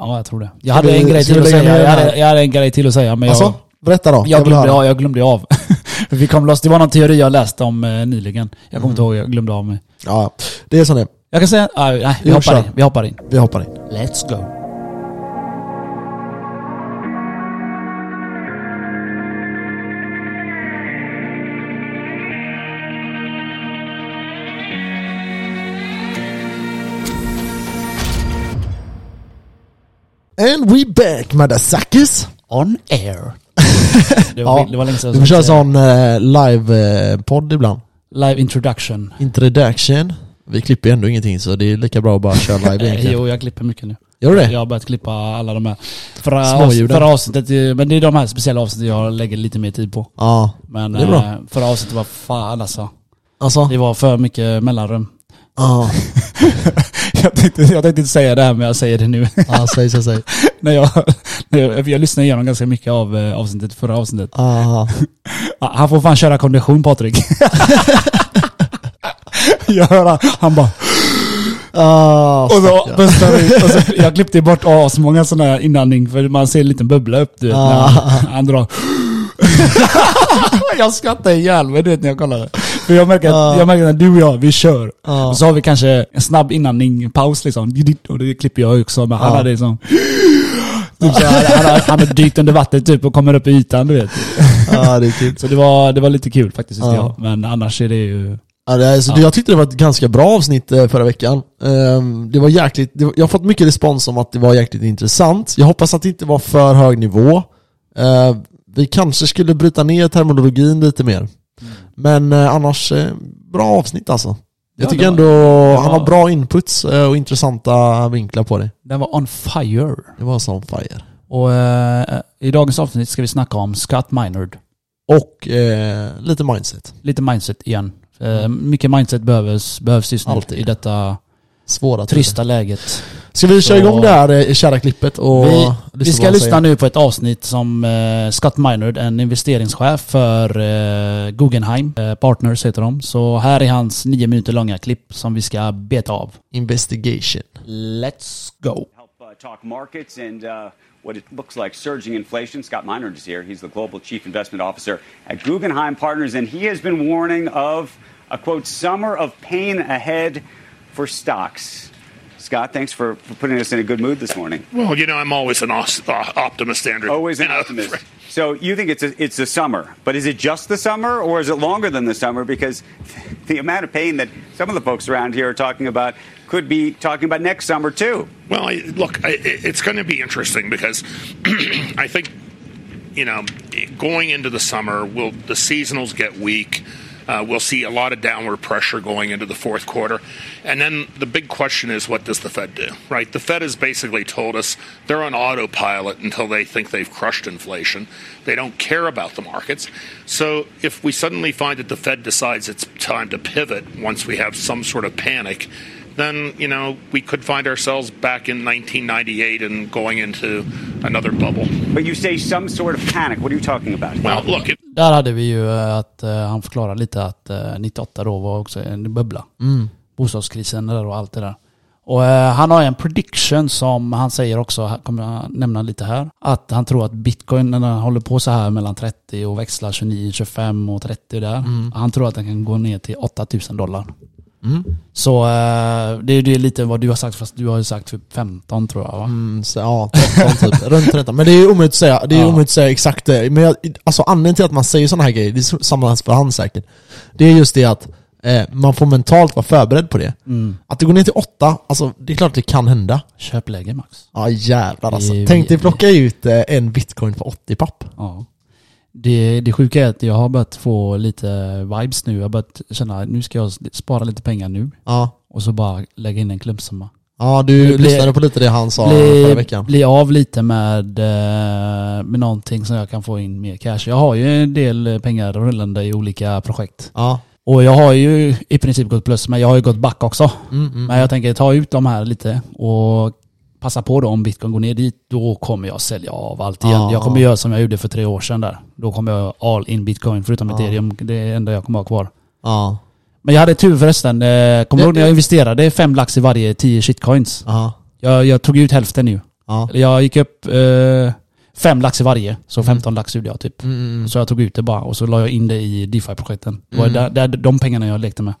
S2: ja, jag tror det.
S1: Ska
S2: Jag hade
S1: vi-
S2: en grej
S1: ska
S2: till
S1: vi
S2: att
S1: lägga
S2: säga.
S1: ner
S2: Jag
S1: den här?
S2: hade, jag hade en grej till att säga, men jag...
S1: Alltså, berätta då.
S2: Jag
S1: vill
S2: glömde,
S1: höra.
S2: av, jag glömde av. (laughs) Vi kom loss. Det var någon teori jag läste om eh, nyligen. Jag kommer inte ihåg, jag glömde av mig.
S1: Ja, det är som det är.
S2: Jag kan säga... ah, nej, vi
S1: Jo,
S2: hoppar
S1: kör.
S2: in. Vi hoppar in.
S1: Vi hoppar in.
S2: Let's go.
S1: And we back motherfuckers.
S2: On
S1: (laughs)
S2: air. Det var,
S1: Ja,
S2: det var länge sedan.
S1: Du får köra sån eh, live-podd ibland.
S2: Live introduction.
S1: Introduction. Vi klipper ju ändå ingenting så det är lika bra att bara köra live
S2: Eh,
S1: egentligen.
S2: (laughs) jo, jag klipper mycket nu.
S1: Gör du det?
S2: Jag har börjat klippa alla de här. Förra,
S1: Småljuden.
S2: avsnitt, förra avsnittet, eh, men det är de här speciella avsnitten jag lägger lite mer tid på.
S1: Ja.
S2: Men
S1: Det är bra.
S2: eh, förra avsnittet var fan alltså.
S1: Alltså?
S2: Det var för mycket mellanrum.
S1: Ja.
S2: (laughs) Jag tänkte, jag tänkte inte säga det här men jag säger det nu. (laughs)
S1: Ja, säg, säg, säg.
S2: när jag, när jag, jag lyssnade igenom ganska mycket av eh, avsnittet, förra avsnittet.
S1: Ja.
S2: Ah, Han får fan köra kondition Patrik. (laughs) jag hör han, han bara...
S1: Ja.
S2: Och
S1: fuck
S2: så,
S1: ja.
S2: pustar ut, och så, jag klippte bort asmånga sådana här inandning för man ser en liten bubbla upp du vet, när han, han drar. (laughs) jag skrattar ihjäl mig du vet när jag kollar. För jag märker,
S1: Ah.
S2: att, jag märker att du och jag, vi kör.
S1: Ja.
S2: Och så har vi kanske en snabb inandning, paus liksom. Och det klipper jag också men han
S1: Ja.
S2: hade liksom... Typ så, här, han, han, han har dykt under vattnet typ och kommer upp i ytan du vet.
S1: Ja, det är kul.
S2: Så det var, det var lite kul faktiskt. tyckte
S1: Ja.
S2: jag. Men annars är det ju...
S1: Ja, det är, så det- Jag tyckte det var ett ganska bra avsnitt eh, förra veckan. Ehm, Det var jäkligt, det var, jag har fått mycket respons om att det var jäkligt intressant. Jag hoppas att det inte var för hög nivå. Ehm, Vi kanske skulle bryta ner terminologin lite mer. Men eh, annars, eh, bra avsnitt alltså. Jag
S2: Ja,
S1: tycker
S2: det var-
S1: ändå han
S2: var-
S1: har bra inputs eh, och intressanta vinklar på det.
S2: Den var on fire.
S1: Det var som fire.
S2: Och eh, i dagens avsnitt ska vi snacka om Scott Minard.
S1: Och eh, lite mindset.
S2: Lite mindset igen. Eh, mycket mindset behövs, behövs just nu
S1: Mm. Alltid.
S2: i detta
S1: Svåra tider.
S2: trista läget.
S1: Ska vi köra
S2: Så-
S1: igång det här eh, kära klippet och
S2: Vi, vi
S1: lyssna
S2: ska
S1: vad han
S2: lyssna
S1: säger?
S2: nu på ett avsnitt som eh, Scott Minard, en investeringschef för eh, Guggenheim eh, Partners heter de. Så här är hans nio minuter långa klipp som vi ska beta av.
S1: Investigation.
S2: Let's go!
S3: help uh, talk markets and uh, what it looks like surging inflation. Scott Minard is here. He's the global chief investment officer at Guggenheim Partners, and he has been warning of a quote summer of pain ahead for stocks. Scott, thanks for, for putting us in a good mood this morning.
S4: Well, you know, I'm always an os- uh, optimist, Andrew.
S3: Always
S4: (laughs)
S3: an
S4: And, uh,
S3: optimist. So you think it's a, it's the summer, but is it just the summer, or is it longer than the summer? Because (laughs) the amount of pain that some of the folks around here are talking about could be talking about next summer too.
S4: Well, I, look, I, it- it's going to be interesting because (clears throat) I think, you know, going into the summer, will the seasonals get weak. Uh, we'll see a lot of downward pressure going into the fourth quarter. And then the big question is what does the Fed do, right? The Fed has basically told us they're on autopilot until they think they've crushed inflation. They don't care about the markets. So if we suddenly find that the Fed decides it's time to pivot once we have some sort of panic, then you know we could find ourselves back in 1998 and going into another bubble.
S3: But you say some sort of panic. What are you talking about?
S4: Well, look, it,
S2: Där hade vi ju eh, att eh, han förklarade lite att eh, 98 då var också en bubbla. Bostadskrisen där och allt det där. Och eh, han har en prediction som han säger också, här kommer jag nämna lite här, att han tror att bitcoin när den håller på så här mellan 30 och växlar 29, 25 och 30 där. Han tror att den kan gå ner till 8000 dollar. Så eh, det är ju det är lite vad du har sagt, fast du har ju sagt typ 15 tror jag va?
S1: Mm, så, ja, 13 typ. (laughs) Runt 13. Men det är ju omöjligt att säga, det är ju
S2: Ja.
S1: omöjligt att säga exakt det. Men jag, alltså anledningen till att man säger sådana här grejer, det är samma för han säkert. Det är just det att eh, man får mentalt vara förberedd på det.
S2: Mm.
S1: Att det går ner till 8, alltså det är klart det kan hända.
S2: Köp läge max.
S1: Ja jävlar alltså.
S2: Det är-
S1: Tänk dig plocka ut eh, en bitcoin för 80 papp.
S2: Ja. Det, det sjuka är att jag har börjat få lite vibes nu. Jag har börjat känna nu ska jag spara lite pengar nu.
S1: Ja.
S2: Och så bara lägga in en klumpsumma.
S1: Ja du
S2: Det blir-
S1: lyssnade på lite det han sa förra
S2: Bli,
S1: veckan.
S2: bli av lite med, eh, med någonting som jag kan få in mer cash. Jag har ju en del pengar rullande i olika projekt.
S1: Ja.
S2: Och jag har ju i princip gått plus, men jag har ju gått back också.
S1: Mm,
S2: Men jag tänker ta ut de här lite och passa på då om bitcoin går ner dit. Då kommer jag sälja av allt igen.
S1: Ja.
S2: Jag kommer göra som jag gjorde för tre år sedan där. Då kommer jag all in bitcoin, förutom ethereum. Det är det enda jag kommer ha kvar.
S1: Ja.
S2: Men jag hade tur förresten. Eh, Kommer du
S1: Det-
S2: ihåg när jag investerade fem lax i varje tio shitcoins?
S1: Ja.
S2: Jag, jag tog ut hälften nu.
S1: Ja.
S2: Eller Jag gick upp eh, fem lax i varje, så 15 lax gjorde jag typ. Så jag tog ut det bara och så la jag in det i DeFi-projekten. Det var där, där, de pengarna jag lekte med.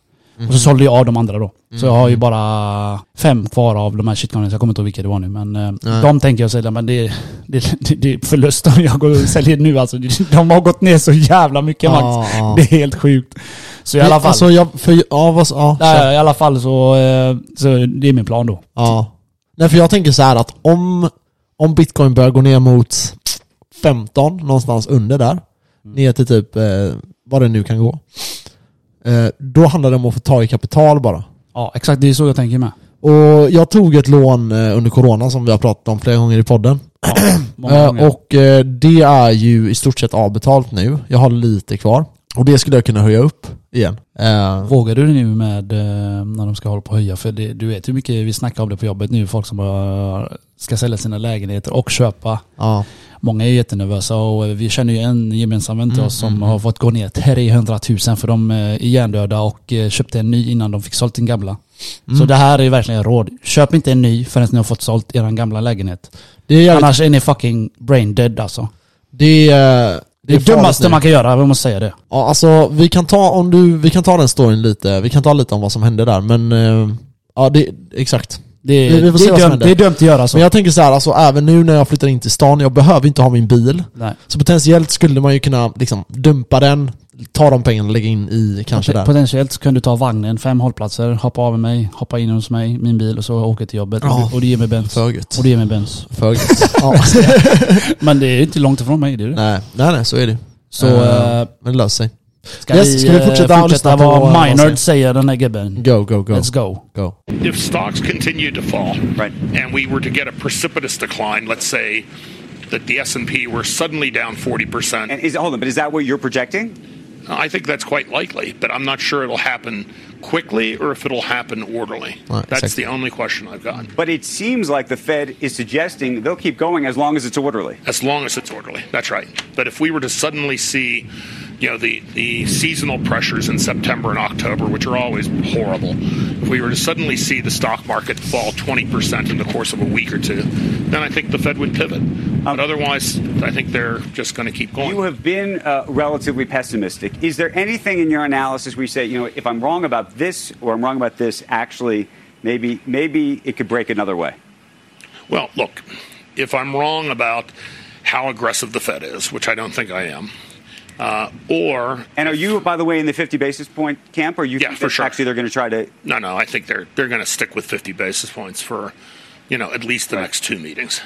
S2: Och så sålde jag av de andra då. Så jag har ju bara fem kvar av de här shitcoinsen. Jag kommer inte ihåg vilka det var nu. Men eh, de tänker jag sälja. Men det, det, det, det är förlust om jag går och säljer nu alltså. De har gått ner så jävla mycket
S1: Ja,
S2: Max.
S1: ja.
S2: Det är helt sjukt. Så i alla fall.
S1: Alltså jag, för, ja vad, ja. kör.
S2: Nej, I alla fall så, eh, så det är min plan då.
S1: Ja. Nej, för jag tänker så här att om, om bitcoin börjar gå ner mot 15, någonstans under där,
S2: Mm.
S1: ner till typ eh, vad det nu kan gå, eh, då handlar det om att få tag i kapital bara.
S2: Ja, exakt. Det är så jag tänker med.
S1: Och jag tog ett lån eh, under corona som vi har pratat om flera gånger i podden.
S2: Många
S1: Eh,
S2: gånger.
S1: Och eh, det är ju i stort sett avbetalt nu. Jag har lite kvar. Och det skulle jag kunna höja upp igen. Eh,
S2: Vågar du nu med eh, när de ska hålla på och höja? För det, du vet hur mycket vi snackar om det på jobbet nu. Folk som bara ska sälja sina lägenheter och köpa.
S1: ja.
S2: Många är jättenervösa och vi känner ju en gemensam vän till oss
S1: Mm,
S2: som har fått gå ner 300 000 för de eh, är hjärndöda och eh, köpte en ny innan de fick sålt den gamla. Så
S1: Mm.
S2: det här är verkligen ett råd. Köp inte en ny förrän ni har fått sålt er gamla lägenhet.
S1: Det är jävligt,
S2: Annars är ni fucking brain dead alltså.
S1: det är... eh,
S2: Det är det
S1: farligt
S2: dummaste
S1: nu.
S2: man kan göra, jag måste säga det.
S1: Ja, alltså vi kan ta, om du, vi kan ta den storyn lite, vi kan ta lite om vad som hände där men... eh, Ja, det, exakt.
S2: Det är,
S1: Vi- vi får se
S2: det är,
S1: vad som
S2: dömt,
S1: händer.
S2: det är dömt att göra så.
S1: Men jag tänker så här, alltså även nu när jag flyttar in till stan, jag behöver inte ha min bil.
S2: Nej.
S1: Så potentiellt skulle man ju kunna liksom dumpa den, ta de pengarna och lägga in i kanske där.
S2: Potentiellt så kan du ta vagnen, fem hållplatser, hoppa av med mig, hoppa in hos mig, min bil och så åker till jobbet.
S1: Ja.
S2: Och, du, och du ger mig bens.
S1: För gött.
S2: Och du ger mig bens.
S1: För
S2: (laughs)
S1: gött. ja.
S2: Men det är ju inte långt ifrån mig, det är
S1: (laughs)
S2: det.
S1: nej, nej, nej, så är det
S2: Så
S1: Eh,
S2: eh,
S1: Men det löser sig.
S2: ska,
S1: yes,
S2: vi,
S1: ska vi
S2: eh,
S1: fortsätta
S2: fortsätta,
S1: lyssna på vad
S2: vad
S1: han säger?
S2: Minard säger, den här gubben.
S1: Go, go, go.
S2: Let's go.
S1: Go.
S4: If stocks continued to fall,
S3: Right.
S4: and we were to get a precipitous decline, let's say that the S&P were suddenly down 40%,
S3: And is, hold on, but is that what you're projecting?
S4: I think that's quite likely, but I'm not sure it'll happen quickly or if it'll happen orderly.
S1: Right,
S4: that's
S1: exactly.
S4: the only question I've got.
S3: But it seems like the Fed is suggesting they'll keep going as long as it's orderly.
S4: As long as it's orderly, that's right. But if we were to suddenly see, you know, the, the seasonal pressures in September and October, which are always horrible, if we were to suddenly see the stock market fall 20% in the course of a week or two, then I think the Fed would pivot. but otherwise, I think they're just going to keep going.
S3: Um, You have been uh, relatively pessimistic. Is there anything in your analysis where you say, you know, if I'm wrong about this or I'm wrong about this, actually, maybe maybe it could break another way?
S4: Well, look, if I'm wrong about how aggressive the Fed is, which I don't think I am, uh, or
S3: And are you, by the way, in the 50 basis point camp? Or you
S4: Yeah,
S3: think
S4: for
S3: that
S4: sure.
S3: actually they're going to try to
S4: no, no, I think they're they're going to stick with 50 basis points for, you know, at least the next two meetings.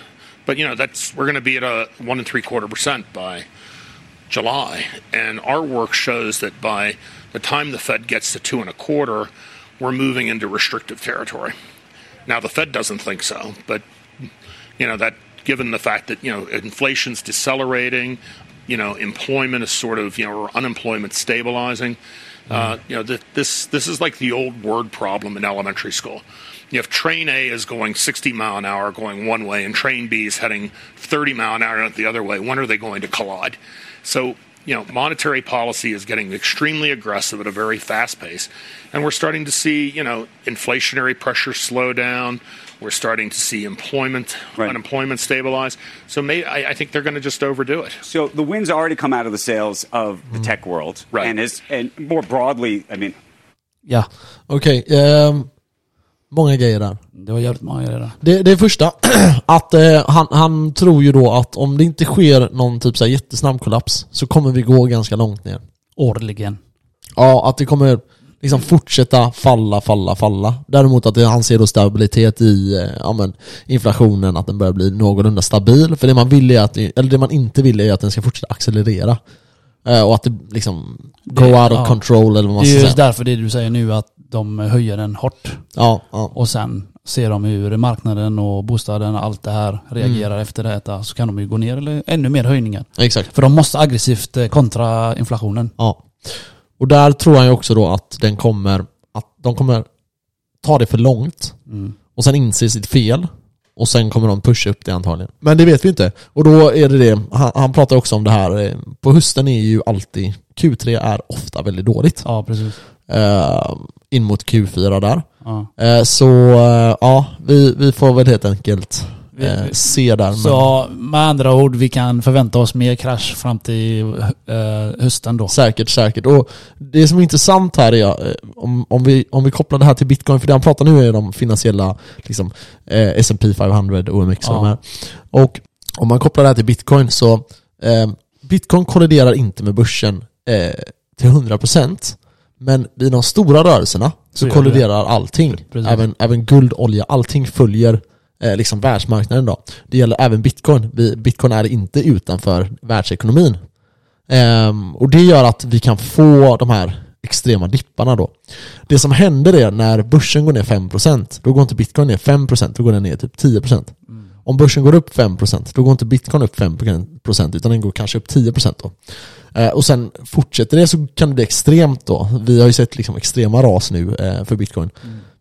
S4: But you know, that's we're going to be at a one and three quarter percent by July, and our work shows that by the time the Fed gets to two and a quarter, we're moving into restrictive territory. Now the Fed doesn't think so, but you know that given the fact that you know inflation's decelerating, you know employment is sort of you know or unemployment stabilizing, uh, you know th- this this is like the old word problem in elementary school. You have train A is going 60 mile an hour going one way, and train B is heading 30 mile an hour the other way. When are they going to collide? So. You know, monetary policy is getting extremely aggressive at a very fast pace, and we're starting to see you know inflationary pressure slow down. We're starting to see employment
S3: Right.
S4: unemployment stabilize. So may, I, I think they're going to just overdo it.
S3: So the wind's already come out of the sails of the tech world,
S4: Mm-hmm. Right.
S3: And is and more broadly, I mean,
S2: Ja,
S1: Okej, ehm, många grejer där.
S2: det var jävligt många grejer där.
S1: Det, det första, (clears throat) att eh, han, han tror ju då att om det inte sker någon typ så här jättesnabb kollaps så kommer vi gå ganska långt ner.
S2: Årligen.
S1: Ja, att det kommer liksom fortsätta falla, falla, falla. Däremot att det, han ser då stabilitet i eh, ja, men, inflationen, att den börjar bli någorlunda stabil. För det man, vill är att, eller det man inte vill är att den ska fortsätta accelerera. Eh, och att det liksom go
S2: Det-
S1: out of
S2: ja.
S1: control eller vad man
S2: Det
S1: ska
S2: är
S1: säga.
S2: just därför det du säger nu att de höjer den hårt.
S1: Ja, ja.
S2: Och sen ser de hur marknaden och bostaden och allt det här reagerar
S1: Mm.
S2: efter detta. Så kan de ju gå ner eller ännu mer höjningar.
S1: Exakt.
S2: För de måste aggressivt eh, kontra inflationen.
S1: Ja. Och där tror jag ju också då att den kommer, att de kommer ta det för långt och sen inse sitt fel och sen kommer de pusha upp det antagligen. Men det vet vi inte. Och då är det det, han, han pratar också om det här, eh, på hösten är ju alltid, Q3 är ofta väldigt dåligt.
S2: Ja, precis.
S1: Eh, in mot Q4 där.
S2: Ja.
S1: Eh, så eh, ja, vi, vi får väl helt enkelt eh,
S2: Vi-
S1: se där. Men
S2: Så med andra ord, vi kan förvänta oss mer krasch fram till eh, hösten då.
S1: Säkert, säkert. Och det som är intressant här är, eh, om, om, vi, om vi kopplar det här till bitcoin, för det han pratar nu är de finansiella, liksom eh, S&P 500, OMX och
S2: Ja.
S1: de här. Och om man kopplar det här till bitcoin så, eh, bitcoin korrelerar inte med börsen eh, till 100%, men i de stora rörelserna så
S2: gör det det.
S1: korrelerar allting.
S2: Precis.
S1: Även, även guld, olja, allting följer eh, liksom världsmarknaden då. Det gäller även bitcoin. Vi, bitcoin är inte utanför världsekonomin. Ehm, och det gör att vi kan få de här extrema dipparna då. Det som händer är när börsen går ner 5%, då går inte bitcoin ner 5%, då går den ner typ 10%. Om börsen går upp 5%, då går inte bitcoin upp 5% utan den går kanske upp 10% då. Eh, och sen fortsätter det så kan det bli extremt då. Vi har ju sett liksom extrema ras nu eh, för bitcoin.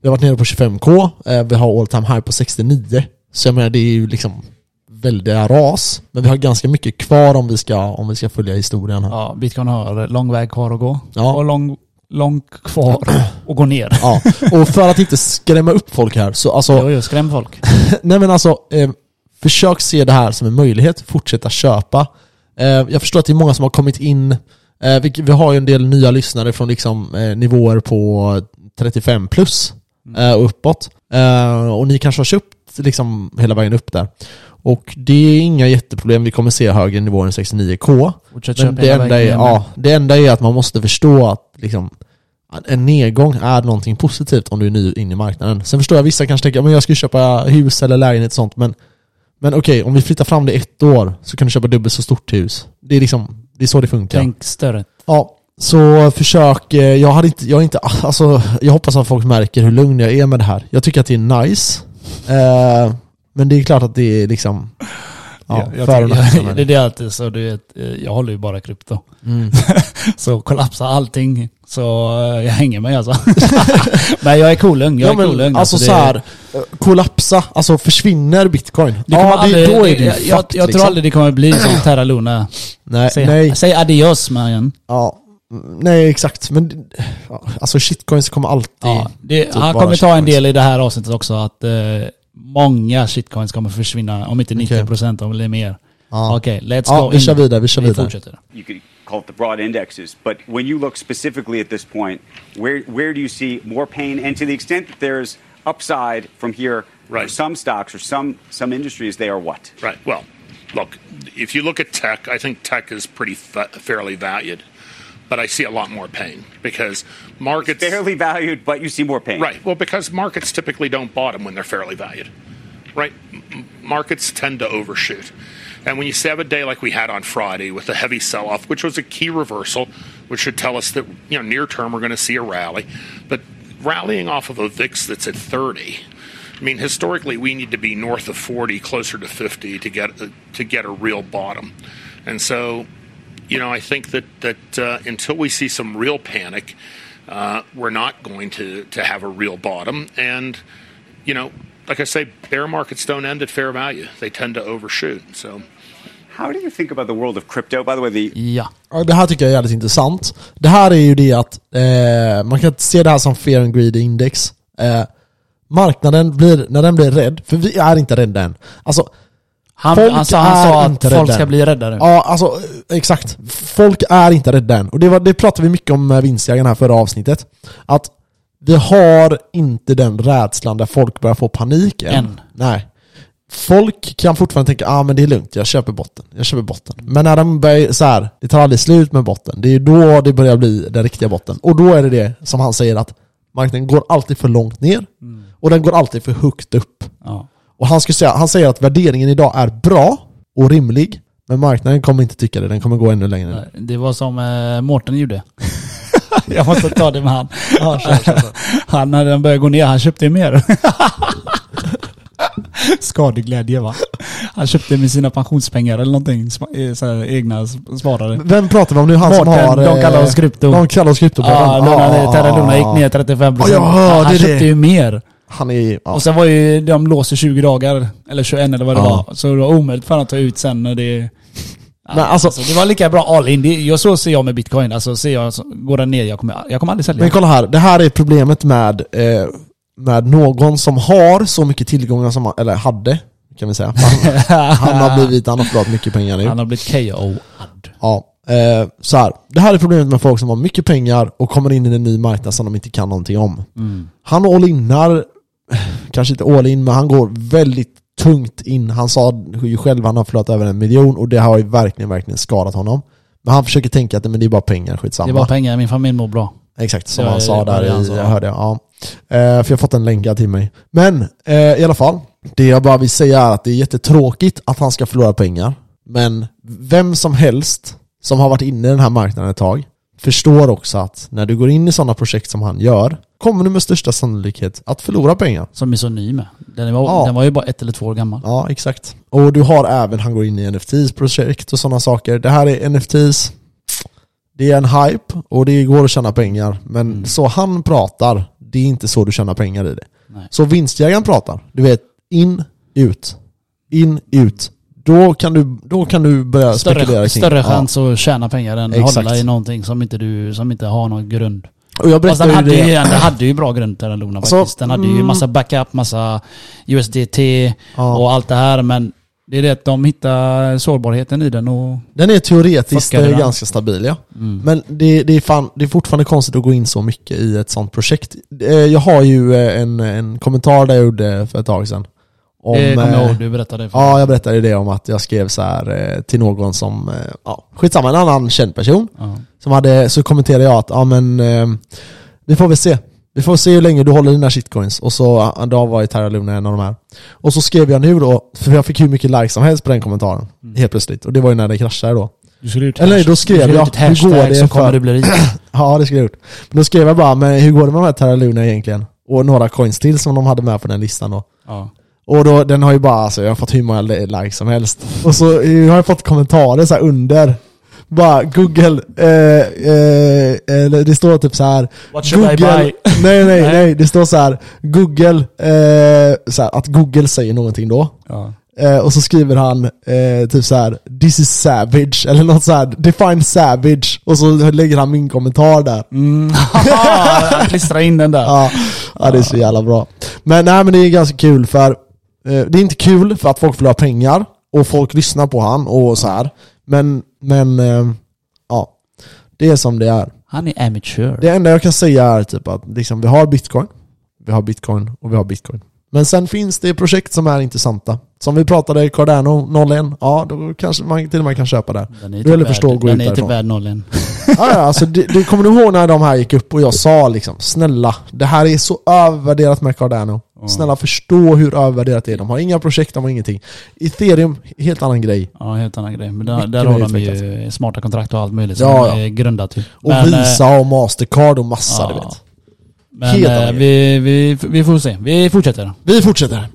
S1: Vi har varit nere på 25k, eh, vi har all time high på 69. Så jag menar det är ju liksom väldiga ras. Men vi har ganska mycket kvar om vi ska, om vi ska följa historien här.
S2: Ja, bitcoin har lång väg kvar att gå.
S1: Ja.
S2: Och lång, lång
S1: (clears throat)
S2: kvar att gå ner.
S1: Ja, och för att inte skrämma upp folk här, så alltså,
S2: Jo, jo, skräm folk.
S1: nej men alltså, eh, försök se det här som en möjlighet, fortsätta köpa. Eh, jag förstår att det är många som har kommit in, eh, vi, vi har ju en del nya lyssnare från liksom, eh, nivåer på 35 plus
S2: Mm.
S1: eh, och uppåt. Eh, och ni kanske har köpt liksom hela vägen upp där. Och det är inga jätteproblem, vi kommer se högre nivåer än 69k.
S2: Fortsätt
S1: Men
S2: köpa
S1: det
S2: hela
S1: enda, är,
S2: vägen ner.
S1: ja, det enda är att man måste förstå att liksom, att en nedgång är någonting positivt om du är ny in i marknaden. Sen förstår jag vissa kanske tänker att jag ska köpa hus eller lägenhet och sånt, men, men okej, om vi flyttar fram det ett år så kan du köpa dubbelt så stort hus. Det är, liksom, det är så det funkar.
S2: Tänk större.
S1: Ja, så försök. eh, Jag, hade inte, jag, är inte, (laughs) alltså, jag hoppas att folk märker hur lugn jag är med det här. Jag tycker att det är nice, eh, men det är klart att det är liksom... Ja,
S2: Jag- jag
S1: för och
S2: (laughs) tycker-
S1: nackdelar med
S2: det, det är alltid så, du vet, eh, jag håller ju bara krypto.
S1: Mm.
S2: (laughs) så kollapsar allting, så eh, jag hänger mig alltså. (laughs) men jag är kolugn, jag
S1: ja, men,
S2: är kolugn.
S1: alltså
S2: det-
S1: så här, eh, kollapsa, alltså försvinner bitcoin.
S2: det kommer
S1: ja,
S2: aldrig-
S1: det, då är det ju
S2: jag, jag,
S1: fucked,
S2: jag
S1: liksom.
S2: tror aldrig det kommer bli som
S1: (clears throat)
S2: Terra Luna.
S1: Nej,
S2: Säg,
S1: nej,
S2: säg adios Marian.
S1: ja, mm, nej exakt. Men ja, alltså shitcoins kommer alltid...
S2: Ja, det,
S1: typ
S2: han
S1: vara
S2: kommer ta en
S1: shitcoins.
S2: del i det här avsnittet också att eh, många shitcoins kommer försvinna, om inte 90% om det är mer.
S1: Ja.
S2: Okej, let's
S1: Ja,
S2: go
S1: vi
S2: in.
S1: kör vidare, vi kör vidare.
S2: fortsätter.
S3: you could call it the broad indexes. But when you look specifically at this point, where where do you see more pain? And to the extent that there's upside from here for
S4: Right.
S3: some stocks or some some industries, they are what?
S4: Right. Well, look, if you look at tech, I think tech is pretty fa- fairly valued, but I see a lot more pain because markets
S3: Fairly valued, but you see more pain.
S4: Right. Well, because markets typically don't bottom when they're fairly valued. Right. M- m- markets tend to overshoot. And when you have a day like we had on Friday with a heavy sell off, which was a key reversal, which should tell us that, you know, near term we're going to see a rally. But rallying off of a VIX that's at 30, I mean, historically we need to be north of 40, closer to 50 to get, to get a real bottom. And so you know, I think that that uh, until we see some real panic, uh, we're not going to to have a real bottom. And you know, like I say, bear markets don't end at fair value; they tend to overshoot. So.
S3: How do you think about the world of crypto? By the way, the
S2: Ja.
S1: Ja, det här tycker jag är jävligt intressant. Det här är ju det att eh, man kan inte se det här som fear and greed index. Eh, marknaden blir, när den blir rädd, för vi är inte rädda än. Alltså,
S2: Han,
S1: Folk
S2: han, sa, han
S1: är
S2: sa att
S1: inte
S2: folk
S1: rädda
S2: ska
S1: än.
S2: bli rädda nu.
S1: Ja, alltså eh, exakt. Folk är inte rädda än. Och det, var, det pratade vi mycket om med vinstjägarna här förra avsnittet. Att vi har inte den rädslan där folk börjar få panik än.
S2: Än.
S1: Nej. Folk kan fortfarande tänka ah, men det är lugnt, jag köper botten. Jag köper botten. Men när de börjar så här, det tar aldrig slut med botten. Det är ju då det börjar bli den riktiga botten. Och då är det det som han säger att marknaden går alltid för långt ner
S2: Mm.
S1: och den går alltid för högt upp.
S2: Ja.
S1: Och han, skulle säga, han säger att värderingen idag är bra och rimlig, men marknaden kommer inte tycka det. Den kommer gå ännu längre ner.
S2: Det var som eh,
S1: (laughs)
S2: Mårten gjorde. jag måste ta det med han. (laughs) han när den började gå ner, han köpte
S1: (laughs)
S2: ju mer. Skadeglädje va? Han köpte med sina pensionspengar eller någonting. sp- eh, Så här, egna sp- sparare.
S1: Vem pratar vi om nu? Han som
S2: Mårten,
S1: har...
S2: de
S1: eh,
S2: kallar oss krypto.
S1: De kallar oss krypto.
S2: Ja, Luna, Ah, Terra Luna gick ner 35
S1: "Ah, Ja, jag
S2: han, han
S1: hörde
S2: köpte
S1: det.
S2: ju mer.
S1: Han är... Ja.
S2: Och sen var ju, de låser 20 dagar, eller 21 eller vad det
S1: Ja.
S2: var. Så det var omöjligt för honom att ta ut sen när det...
S1: Men alltså,
S2: Alltså, det var lika bra all in. Det, jag, så ser jag med bitcoin. Alltså, ser jag, så- går den ner, jag kommer, jag kommer aldrig sälja.
S1: men kolla här. Det här är problemet med, eh, med någon som har så mycket tillgångar som han... Eller hade, kan vi säga.
S2: (laughs)
S1: Han, han har blivit... Han har förlorat mycket pengar nu.
S2: Han har blivit KO-ad.
S1: Ja, eh, så här. Det här är problemet med folk som har mycket pengar och kommer in i en ny marknad som de inte kan någonting om.
S2: Mm.
S1: Han all-innar, kanske inte all-in, men han går väldigt tungt in. Han sa ju själv att han har förlorat över en miljon och det har ju verkligen, verkligen skadat honom. Men han försöker tänka att "Nej, men det är bara pengar, skitsamma.
S2: Det är bara pengar, min familj mår bra.
S1: Exakt, som
S2: Ja,
S1: han
S2: det
S1: sa
S2: var
S1: där.
S2: det han
S1: i,
S2: sa.
S1: jag hörde, ja. Eh, för jag har fått en länkad till mig. Men eh, i alla fall, det jag bara vill säga är att det är jättetråkigt att han ska förlora pengar. Men vem som helst som har varit inne i den här marknaden ett tag förstår också att när du går in i sådana projekt som han gör, kommer du med största sannolikhet att förlora pengar.
S2: Som är så ny med. Den var,
S1: Ja.
S2: den var ju bara ett eller två år gammal.
S1: Ja, exakt. Och du har även, han går in i NFTs-projekt och sådana saker. Det här är NFTs, det är en hype och det går att tjäna pengar. Men
S2: Mm.
S1: så han pratar, det är inte så du tjänar pengar i det.
S2: Nej.
S1: Så vinstjägaren pratar, du vet, in, ut, in, ut. Då kan du, då kan du börja spekulera
S2: Större,
S1: kring
S2: större
S1: Ja.
S2: chans att tjäna pengar än
S1: Exakt.
S2: hålla i någonting som inte, du, som inte har någon grund.
S1: Och jag
S2: Fast den
S1: berättade
S2: hade,
S1: ju
S2: ju,
S1: det.
S2: den hade ju bra grund Terraluna
S1: Alltså,
S2: faktiskt. den hade ju massa backup, massa USDT
S1: Ja.
S2: och allt det här. Men det är det att de hittar sårbarheten i den och...
S1: Den är teoretiskt
S2: Fuckade
S1: eh,
S2: den.
S1: ganska stabil ja.
S2: Mm.
S1: Men det, det, är fan, det är fortfarande konstigt att gå in så mycket i ett sånt projekt. Eh, Jag har ju eh, en, en kommentar där jag gjorde för ett tag sedan. Om,
S2: det kommer jag
S1: eh,
S2: ihåg, du berättade. För
S1: Ja, jag berättade ju det om att jag skrev så här eh, till någon som, eh, ja, skitsamma, en annan känd person.
S2: Ja.
S1: Som hade, så kommenterade jag att, ja men, eh, vi får väl se. Vi får se hur länge du håller dina shitcoins. Och så, ja, då var ju Terra Luna en av de här. Och så skrev jag nu då, för jag fick hur mycket likes som helst på den kommentaren. Helt plötsligt. Och det var ju när det kraschade då.
S2: Du skulle ut
S1: Eller nej, då skrev
S2: du skulle
S1: jag,
S2: ut ett
S1: hur
S2: hashtag
S1: går det
S2: så kommer
S1: för-
S2: du
S1: (clears throat)
S2: bli rik.
S1: Ja, det skulle jag gjort. Men då skrev jag bara, men hur går det med de här Terra Luna egentligen? Och några coins till som de hade med på den listan då.
S2: Ja.
S1: Och då, den har ju bara, alltså jag har fått hur många likes som helst. Och så eh, har jag fått kommentarer så här under. Bara Google, eh, eh, eller det står typ så här.
S2: What should I buy?
S1: (laughs) Nej, nej, nej. Det står så här. Google, eh, så här, att Google säger någonting då.
S2: Ja.
S1: Eh, och så skriver han eh, typ så här: 'This is savage' eller något så här. 'Define savage' och så lägger han min kommentar där.
S2: Ah, klistra in den där.
S1: Ja, ja, det är så jävla bra. Men nej men det är ganska kul för, eh, det är inte kul för att folk förlorar pengar och folk lyssnar på han och så här. Men, men, eh, ja. Det är som det är.
S2: Han är amateur.
S1: Det enda jag kan säga är typ att liksom, vi har bitcoin, vi har bitcoin och vi har bitcoin. Men sen finns det projekt som är intressanta. Som vi pratade, Cardano 01, ja då kanske man till och med kan köpa där.
S2: Den
S1: Du vill förstå och gå ut
S2: den är typ
S1: därifrån. (laughs)
S2: värd nollen.
S1: Ja, ja, alltså, det, det kommer du ihåg när de här gick upp och jag sa liksom Snälla, det här är så övervärderat med Cardano. Snälla förstå hur övervärderat det är. De har inga projekt, de har ingenting. Ethereum, helt annan grej.
S2: Ja, helt annan grej. Men där,
S1: Mycket
S2: där har
S1: mer
S2: de ju smarta kontrakt och allt möjligt som
S1: Ja,
S2: de
S1: ja.
S2: är grundat till.
S1: Och
S2: Men, eh,
S1: Visa och Mastercard och massa,
S2: ja.
S1: du vet.
S2: Men
S1: Helt
S2: eh,
S1: annan
S2: vi, vi, vi får se. Vi fortsätter.
S1: Vi fortsätter.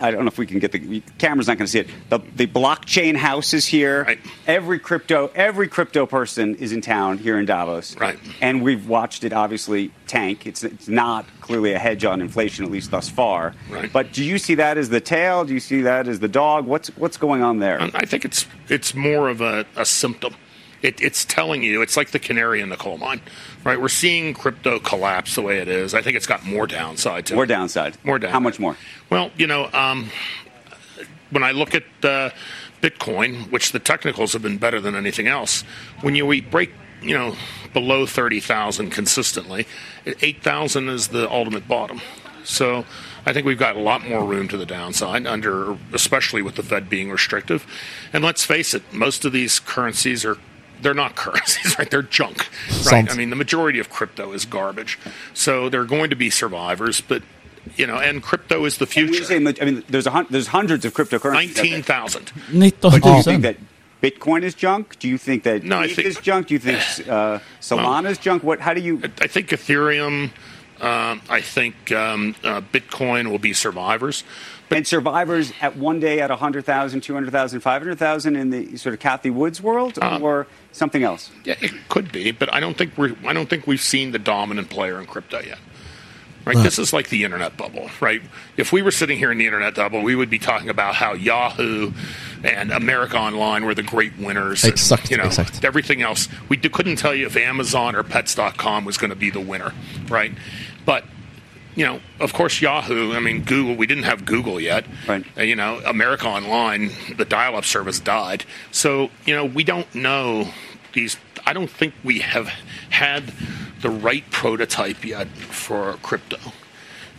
S3: I don't know if we can get the, the camera's not going to see it. The, the blockchain house is here.
S4: Right.
S3: Every crypto, every crypto person is in town here in Davos.
S4: Right.
S3: And we've watched it obviously tank. It's, it's not clearly a hedge on inflation, at least thus far.
S4: Right.
S3: But do you see that as the tail? Do you see that as the dog? What's what's going on there?
S4: Um, I think it's it's more of a, a symptom. It, it's telling you it's like the canary in the coal mine, right? We're seeing crypto collapse the way it is. I think it's got more downside to
S3: More
S4: it.
S3: downside.
S4: More down.
S3: How much more?
S4: Well, you know, um, when I look at uh, Bitcoin, which the technicals have been better than anything else, when you we break, you know, below thirty thousand consistently, eight thousand is the ultimate bottom. So I think we've got a lot more room to the downside under, especially with the Fed being restrictive. And let's face it, most of these currencies are. They're not (laughs) currencies, right? They're junk, right?
S1: Sant.
S4: I mean, the majority of crypto is garbage, so there are going to be survivors, but you know, and crypto is the
S3: When you
S4: future.
S3: say, I mean, there's a hun- there's hundreds of cryptocurrencies. out there.
S4: 19,000.
S2: 19
S3: But do
S2: 000.
S3: you think that Bitcoin is junk? Do you think that
S4: No, I
S3: ETH
S4: think-
S3: is junk? Do you
S4: (laughs)
S3: think uh, Solana is junk? What? How do you?
S4: I think Ethereum, um, I think um, uh, Bitcoin will be survivors.
S3: and survivors at one day at 100,000, 200,000, 500,000 in the sort of Kathy Woods world
S4: Uh-huh.
S3: or something else?
S4: Yeah, it could be, but I don't think we're. I don't think we've seen the dominant player in crypto yet. Right? This is like the internet bubble, right? If we were sitting here in the internet bubble, we would be talking about how Yahoo and America Online were the great winners. and,
S1: Exact-
S4: you know,
S1: exact.
S4: everything else. We d- couldn't tell you if Amazon or Pets.com was going to be the winner, right? But you know, of course, Yahoo. I mean, Google. We didn't have Google yet.
S3: Right.
S4: Uh, You know, America Online, the dial-up service died. So you know, we don't know these. I don't think we have had the right prototype yet for crypto.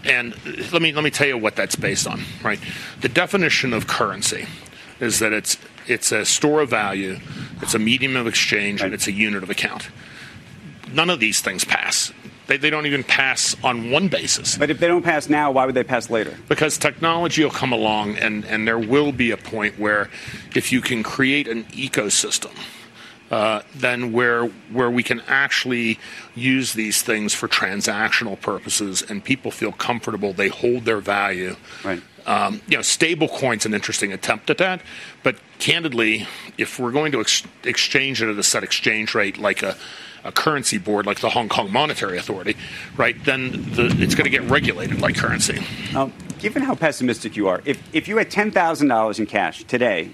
S4: And uh, let me let me tell you what that's based on. Right, the definition of currency is that it's it's a store of value, it's a medium of exchange, and it's a unit of account. None of these things pass. They, they don't even pass on one basis
S3: But if they don't pass now, why would they pass later?
S4: because technology will come along and, and there will be a point where if you can create an ecosystem uh, than where where we can actually use these things for transactional purposes, and people feel comfortable they hold their value.
S3: Right.
S4: Um, you know, stable coin's an interesting attempt at that, but candidly, if we're going to ex- exchange it at a set exchange rate, like a a currency board like the Hong Kong Monetary Authority, right? Then the, it's going to get regulated like currency.
S3: Now, Um, given how pessimistic you are, if, if you had $10,000 in cash today,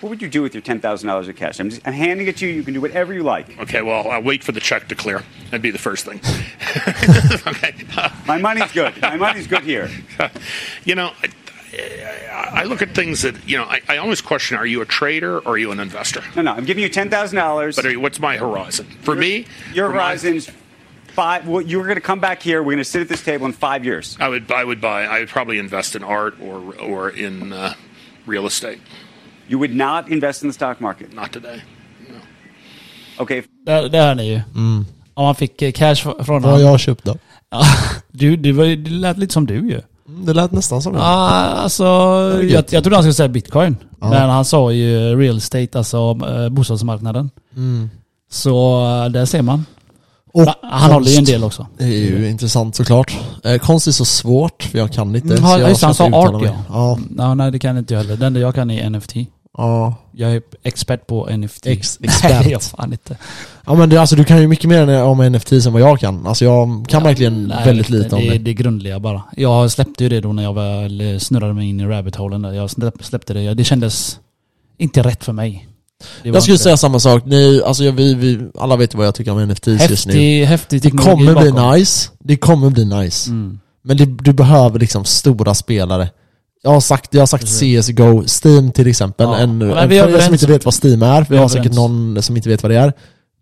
S3: what would you do with your $10,000 in cash? I'm, just, I'm handing it to you. You can do whatever you like.
S4: Okay, well, I'll wait for the check to clear. That'd be the first thing. okay.
S3: My money's
S4: (laughs)
S3: good. My money's good here.
S4: you know, I, I look at things that, you know, I, I always question are you a trader or are you an investor?
S3: No, no, I'm giving you $10,000.
S4: But are you, what's my horizon? For me,
S3: Your
S4: for my-
S3: horizon's five. Well, you're going to come back here. We're going to sit at this table in five years.
S4: I would, I would buy, I would probably invest in art or, or in uh, real estate.
S3: You would not invest in the stock market.
S4: Not today. No.
S3: Okay.
S2: Där, där är ni ju. Om man fick eh, cash fr- från
S1: Vad har
S2: honom.
S1: jag köpt då?
S2: Mm. Ja, du, du, var ju- det lät lite som du ju.
S1: Mm, Det lät nästan som det.
S2: Ah, alltså, jag, jag trodde han skulle säga bitcoin. Men han sa ju real estate, alltså eh, bostadsmarknaden. Mm. Så eh, där ser man.
S1: Och
S2: Han håller ju en
S1: konst.
S2: del också.
S1: Det är ju intressant såklart. Eh, konst är så svårt, för jag kan inte.
S2: Mm,
S1: så
S2: ja,
S1: jag
S2: just det, han
S1: ska inte
S2: sa
S1: uttala
S2: art,
S1: mig. Ja,
S2: Ja, nej, det kan inte jag heller. Det enda jag kan är NFT.
S1: ja.
S2: Jag är expert på NFT.
S1: Ex- expert.
S2: (laughs) Nej, jag fan inte.
S1: Ja men det, alltså, du kan ju mycket mer om NFTs än vad jag kan. Alltså jag kan verkligen
S2: Nej,
S1: väldigt
S2: det-
S1: lite om
S2: det.
S1: det.
S2: Det är grundliga bara. Jag släppte ju det då när jag väl eh, snurrade mig in i rabbit-holen. där. Jag släpp- släppte det. Det kändes inte rätt för mig. Det var
S1: Jag skulle
S2: inte-
S1: säga samma sak. Ni, alltså, jag- vi, vi, alla vet vad jag tycker om NFTs just nu.
S2: häftig, häftig
S1: Det
S2: teknologi
S1: kommer bli
S2: bakom. Mm.
S1: nice. Det kommer bli nice. Men det, du behöver liksom stora spelare. Jag har sagt, jag har sagt CSGO, Steam till exempel.
S2: Ja.
S1: En,
S2: Men vi är
S1: en, för er som
S2: överens.
S1: inte vet vad Steam är, vi
S2: är
S1: har säkert
S2: överens.
S1: någon som inte vet vad det är.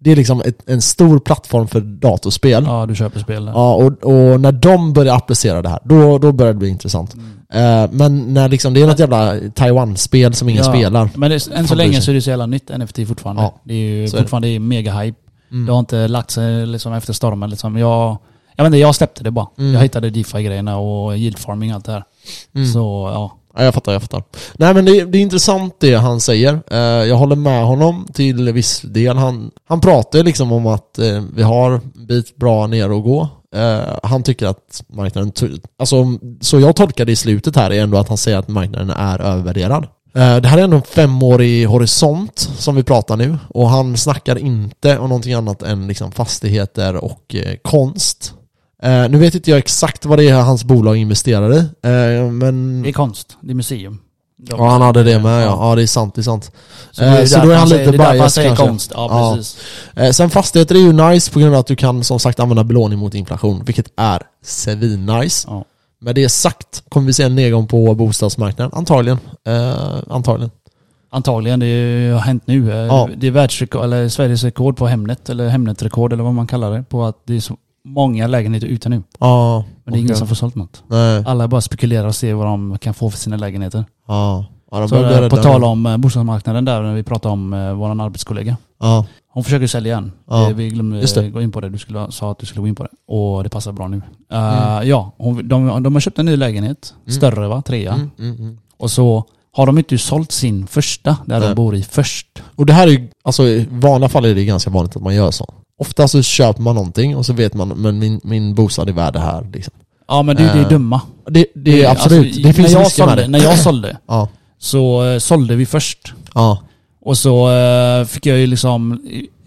S1: Det är liksom ett, en stor plattform för datorspel. Ja.
S2: Ja, du köper spel där.
S1: och, och när de börjar applicera det här, då, då börjar det bli intressant. Eh, men när liksom, det är något jävla Taiwan-spel som ingen
S2: Ja,
S1: spelar.
S2: Men det, än så
S1: Fan,
S2: länge
S1: bryr
S2: så är det så jävla nytt NFT fortfarande.
S1: Ja,
S2: det är ju
S1: så är det. Mm.
S2: fortfarande det. mega hype. Det har inte lagt sig liksom efter stormen. Liksom. Jag, jag, vet inte, jag släppte det bara.
S1: Mm.
S2: Jag hittade DeFi-grejerna och yield farming och allt det här. Så ja.
S1: Ja, jag fattar, jag fattar. Nej men det, det är intressant det han säger. Eh, jag håller med honom till viss del. Han, han pratar ju liksom om att eh, vi har en bit bra ner att gå. Eh, han tycker att marknaden... t- Alltså, så jag tolkar det i slutet här är ändå att han säger att marknaden är övervärderad. Eh, Det här är ändå en femårig horisont som vi pratar nu och han snackar inte om någonting annat än liksom fastigheter och eh, konst. Eh, nu vet inte jag exakt vad det är hans bolag investerar i, eh, men...
S2: Det är konst. Det är museum. De-
S1: Ja han hade det med ja, ja det är sant, det är sant.
S2: Så, det är
S1: Eh,
S2: ju
S1: så
S2: därför
S1: då är han
S2: säger-
S1: lite
S2: det är därför han
S1: biased
S2: säger
S1: kanske.
S2: konst. Ja, precis.
S1: Eh, Sen fastigheter är ju nice på grund av att du kan som sagt använda belåning mot inflation, vilket är svinnice.
S2: Ja.
S1: Med det sagt kommer vi se en nedgång på bostadsmarknaden, antagligen. Eh, antagligen.
S2: Antagligen, det har hänt nu. Eh,
S1: Ja.
S2: Det är världsrekord, eller Sveriges rekord på Hemnet, eller Hemnet-rekord eller vad man kallar det, på att det är så många lägenheter ute nu. Men
S1: Ja.
S2: det är ingen som får sålt något.
S1: Nej.
S2: Alla bara spekulerar och ser vad de kan få för sina lägenheter.
S1: Ja. ja de
S2: Så
S1: börjar bli
S2: eh, på
S1: rädda.
S2: tal om eh, bostadsmarknaden där, när vi pratade om eh, vår arbetskollega.
S1: Ja.
S2: Hon försöker sälja en.
S1: Ja,
S2: Eh, Vi glömde
S1: just det.
S2: eh, gå in på det. Du skulle, sa att du skulle gå in på det. Och det passar bra nu. Eh,
S1: Mm.
S2: Ja, hon, de, de har köpt en ny lägenhet. Större va? Trea.
S1: Mm,
S2: Och så har de inte sålt sin första, där
S1: Nej.
S2: de bor i först.
S1: Och det här är ju, alltså i vanliga fall är det ganska vanligt att man gör så. Ofta så köper man någonting och så vet man, men min, min bostad är värd det här liksom.
S2: Ja men det är ju det
S1: Eh,
S2: dumma.
S1: Det, det är absolut,
S2: alltså,
S1: det finns
S2: när jag,
S1: risker med
S2: sålde,
S1: det.
S2: när
S1: (clears throat)
S2: jag sålde
S1: Ja.
S2: så eh, sålde vi först.
S1: Ja.
S2: Och så eh, fick jag ju liksom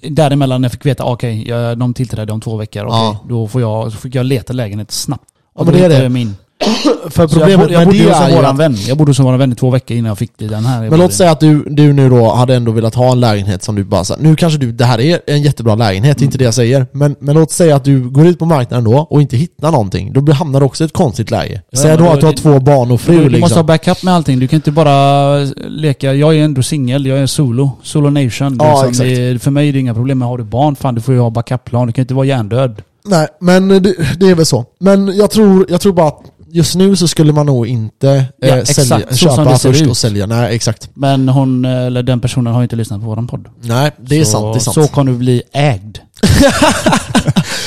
S2: i- däremellan när jag fick veta, ah, okej, jag- de tillträdde om två veckor. Okej,
S1: Ja.
S2: då får jag, så fick jag leta lägenhet snabbt.
S1: Ja,
S2: Och
S1: men
S2: då
S1: det är
S2: hittade
S1: det.
S2: jag Min.
S1: (coughs) För
S2: Så jag,
S1: problemet
S2: bodde- jag
S1: med
S2: bodde
S1: det
S2: hos
S1: är ju
S2: våran
S1: att
S2: vän. Jag bodde hos våran vän i två veckor innan jag fick det, den här. jag
S1: Men
S2: bodde
S1: låt
S2: i.
S1: säga att du, du nu då hade ändå velat ha en lägenhet som du bara sa, nu kanske du, det här är en jättebra lägenhet, inte det jag säger. Men, men låt säga att du går ut på marknaden då och inte hittar någonting, då blir- hamnar du också i ett konstigt läge. Säg
S2: men
S1: då
S2: då-
S1: att du har
S2: det-
S1: två barn och fru
S2: Du
S1: liksom.
S2: måste ha backup med allting. Du kan inte bara eh, leka. Jag är ändå singel, jag är solo. Solo nation.
S1: Ja,
S2: Liksom,
S1: exakt.
S2: det, är- för mig är det inga problem. Men har du barn, fan du får ju ha backup-plan. Du kan inte vara hjärndöd.
S1: Nej, men det, det är väl så. Men jag tror, jag tror bara att just nu så skulle man nog inte
S2: Ja,
S1: eh,
S2: exakt,
S1: sälja,
S2: så som
S1: köpa
S2: det ser
S1: först
S2: ut.
S1: och sälja. Nej, exakt.
S2: Men hon, eller den personen har ju inte lyssnat på våran podd.
S1: Nej, det är
S2: så,
S1: sant. Det är sant.
S2: Så kan du bli
S1: (laughs)
S2: ägd.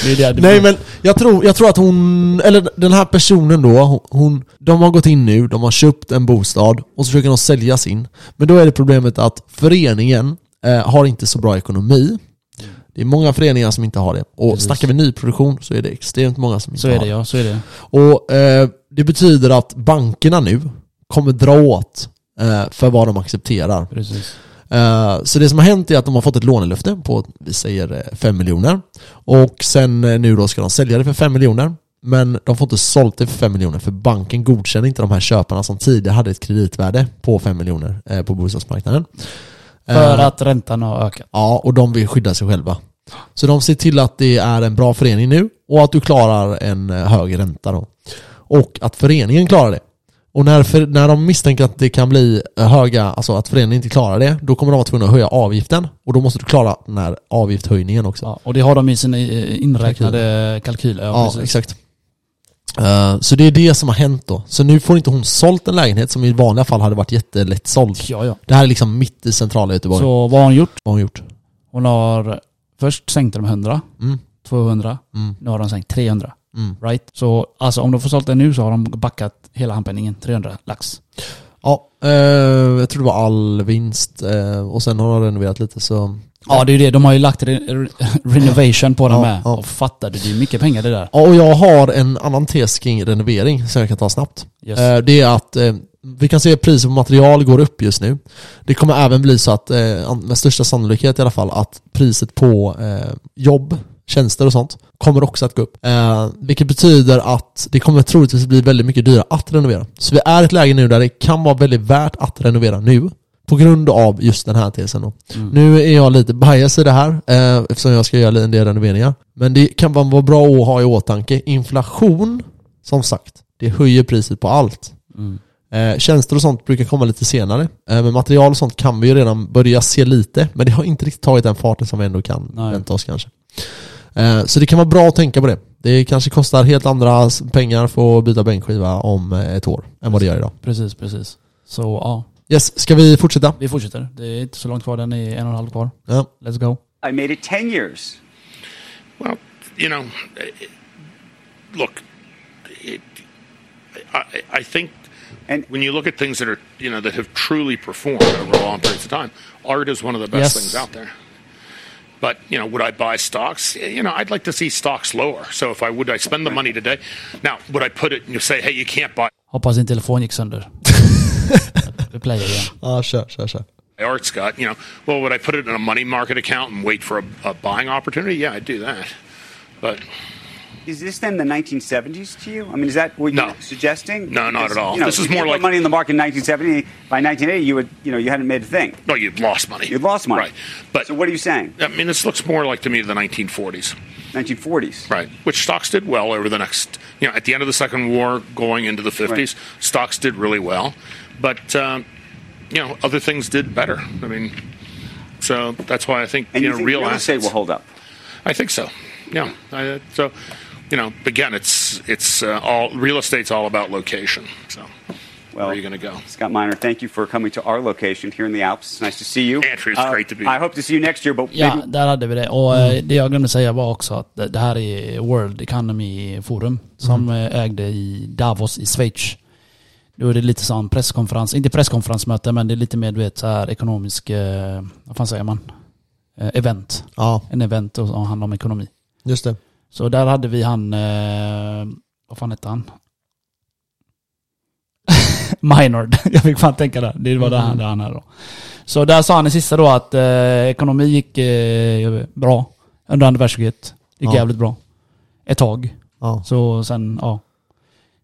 S2: det är det du
S1: Nej men jag tror, jag tror att hon, eller den här personen då, hon- hon, de har gått in nu, de har köpt en bostad och så försöker de sälja sin. Men då är det problemet att föreningen, eh, har inte så bra ekonomi. Det är många föreningar som inte har det. Och snackar vi nyproduktion så är det extremt många som inte
S2: Så
S1: har
S2: är det ja, så är det.
S1: Och eh, det betyder att bankerna nu kommer dra åt eh, för vad de accepterar.
S2: Precis.
S1: Eh, så det som har hänt är att de har fått ett lånelöfte på, vi säger eh, 5 miljoner. Och sen eh, nu då ska de sälja det för 5 miljoner. Men de får inte sålt det för 5 miljoner för banken godkänner inte de här köparna som tidigare hade ett kreditvärde på 5 miljoner eh, på bostadsmarknaden. Eh.
S2: För att räntan har ökat.
S1: Ja, och de vill skydda sig själva. Så de ser till att det är en bra förening nu och att du klarar en eh, hög ränta då. Och att föreningen klarar det. Och när, för, när de misstänker att det kan bli eh, höga, alltså att föreningen inte klarar det, då kommer de vara tvungna att höja avgiften. Och då måste du klara den här avgiftshöjningen också.
S2: Ja, och det har de i sina eh, inräknade kalkyler. Ja,
S1: Ja,
S2: precis.
S1: exakt. Eh, så det är det som har hänt då. Så nu får inte hon sålt en lägenhet som i vanliga fall hade varit jättelätt såld.
S2: Ja, ja.
S1: Det här är liksom mitt i centrala Göteborg. Så.
S2: Så vad har hon gjort?
S1: Vad har hon gjort?
S2: Hon har... Först sänkte de 100,
S1: Mm.
S2: 200,
S1: Mm.
S2: nu har de sänkt 300.
S1: Mm.
S2: Right? Så alltså om de får sålt den nu så har de backat hela handpenningen, 300 lax.
S1: Ja, eh, jag tror det var all vinst eh, och sen har de renoverat lite så...
S2: Ja det är ju det, de har ju lagt re- re- (laughs) renovation på den
S1: Ja,
S2: med.
S1: ja.
S2: Och fattar du, det är mycket pengar det där.
S1: Ja, och jag har en annan tes kring renovering som jag kan ta snabbt.
S2: Yes.
S1: Eh, det är att eh, vi kan se att priset på material går upp just nu. Det kommer även bli så att, eh, an- med största sannolikhet i alla fall, att priset på eh, jobb, tjänster och sånt kommer också att gå upp. Eh, vilket betyder att det kommer troligtvis bli väldigt mycket dyrare att renovera. Så vi är i ett läge nu där det kan vara väldigt värt att renovera nu. På grund av just den här tesen då. Nu är jag lite bias i det här eh, eftersom jag ska göra en del renoveringar. Men det kan bara vara bra att ha i åtanke. Inflation, som sagt, det höjer priset på allt. Eh, tjänster och sånt brukar komma lite senare. Eh, men material och sånt kan vi ju redan börja se lite. Men det har inte riktigt tagit den farten som vi ändå kan
S2: Nej.
S1: vänta oss kanske. Eh, så det kan vara bra att tänka på det. Det kanske kostar helt andra s- pengar för att byta bänkskiva om eh, ett år än vad det gör idag.
S2: Precis, precis. Så ja,
S1: Yes, ska vi fortsätta?
S2: vi fortsätter. Det är inte så långt kvar, den är en och en halv kvar.
S1: Ja.
S2: Let's go.
S3: I made it 10 years.
S4: Well, you know, eh, look, it, I, I think
S3: And-
S4: when you look at things that are, you know, that have truly performed over long periods of time, art is one of the
S2: Yes.
S4: best things out there. But you know, would I buy stocks? You know, I'd like to see stocks lower. So if I would, I spend the money today. Now, would I put it and you say, hey, you can't buy
S2: Hoppas din telefon gick sönder. Vi playar igen.
S1: Ja, kör, kör, kör.
S4: art, Scott? You know, well, would I put it in a money market account and wait for a, a buying opportunity? Yeah, I'd do that. But
S3: Is this then the 1970s to you? I mean, is that what
S4: No.
S3: you're suggesting?
S4: No, not
S3: Because,
S4: at all.
S3: You know,
S4: This is
S3: if you
S4: more
S3: put
S4: like-
S3: money in the market in 1970. By 1980, you would, you know, you hadn't made a thing.
S4: no, you've lost money.
S3: You'd lost money.
S4: Right. But
S3: so what are you saying?
S4: I mean, this looks more like to me the 1940s,
S3: 1940s.
S4: right? Which stocks did well over the next, you know, at the end of the Second War, going into the 50s, stocks did really well. But, um, you know, other things did better. I mean, so that's why I think,
S3: And
S4: you
S3: you
S4: know,
S3: think
S4: real
S3: real estate
S4: assets.
S3: will hold up.
S4: I think so. Yeah. I, so, you know, again, it's, it's uh, all, real estate's all about location. So, where are you going to go?
S3: Scott Miner, thank you for coming to our location here in the Alps. It's nice to see you. Uh,
S4: Andrew, it's great to be
S3: I
S4: here.
S3: hope to see you next year, but
S2: Ja,
S3: maybe
S2: där hade vi det. Och eh, det jag glömde säga var också att det det här är World Economy Forum som eh, ägde i Davos i Schweiz. Då är det lite sån presskonferens, inte presskonferensmöte men det är lite mer du vet så här ekonomisk, eh, vad fan säger man? Eh, event.
S1: Ja,
S2: En event och och handlar om ekonomi.
S1: just det.
S2: Så där hade vi han, eh, vad fan hette han? (laughs) Minord. (laughs) Jag fick fan tänka där. Det var där han, där han är då. Så där sa han i sista då att eh, ekonomi gick eh, bra under andra världskriget. Det gick
S1: Ja.
S2: jävligt bra. Ett tag.
S1: Ja.
S2: Så sen, ja.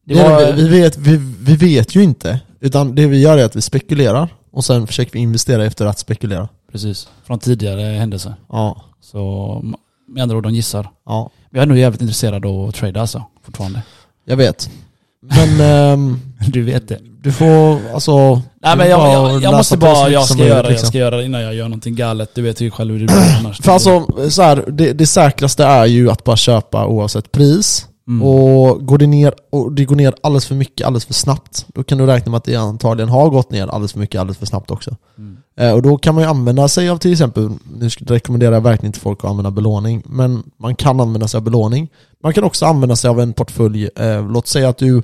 S2: Det
S1: Det
S2: var,
S1: är det, vi, vi, vet, vi, vi vet ju inte. Utan det vi gör är att vi spekulerar och sen försöker vi investera efter att spekulera.
S2: Precis. Från tidigare händelser.
S1: Ja.
S2: Så med andra ord, de gissar.
S1: ja.
S2: Jag är nog jävligt intresserad av att trada alltså, fortfarande.
S1: Jag vet. (laughs) Men ehm,
S2: Du vet det.
S1: du får alltså...
S2: Nej
S1: du
S2: men jag,
S1: får
S2: jag, jag
S1: läsa
S2: måste
S1: på så
S2: bara,
S1: mycket
S2: jag
S1: som
S2: ska
S1: möjligt,
S2: göra det, jag
S1: liksom.
S2: ska göra det innan jag gör någonting galet. Du vet ju själv hur det blir annars.
S1: För alltså, så här, det, det säkraste är ju att bara köpa oavsett pris.
S2: Mm.
S1: Och går det ner och det går ner alldeles för mycket alldeles för snabbt, då kan du räkna med att det antagligen har gått ner alldeles för mycket alldeles för snabbt också.
S2: Mm.
S1: Eh, och då kan man ju använda sig av till exempel, nu sk- rekommenderar jag verkligen inte folk att använda belåning, men man kan använda sig av belåning. Man kan också använda sig av en portfölj, eh, låt säga att du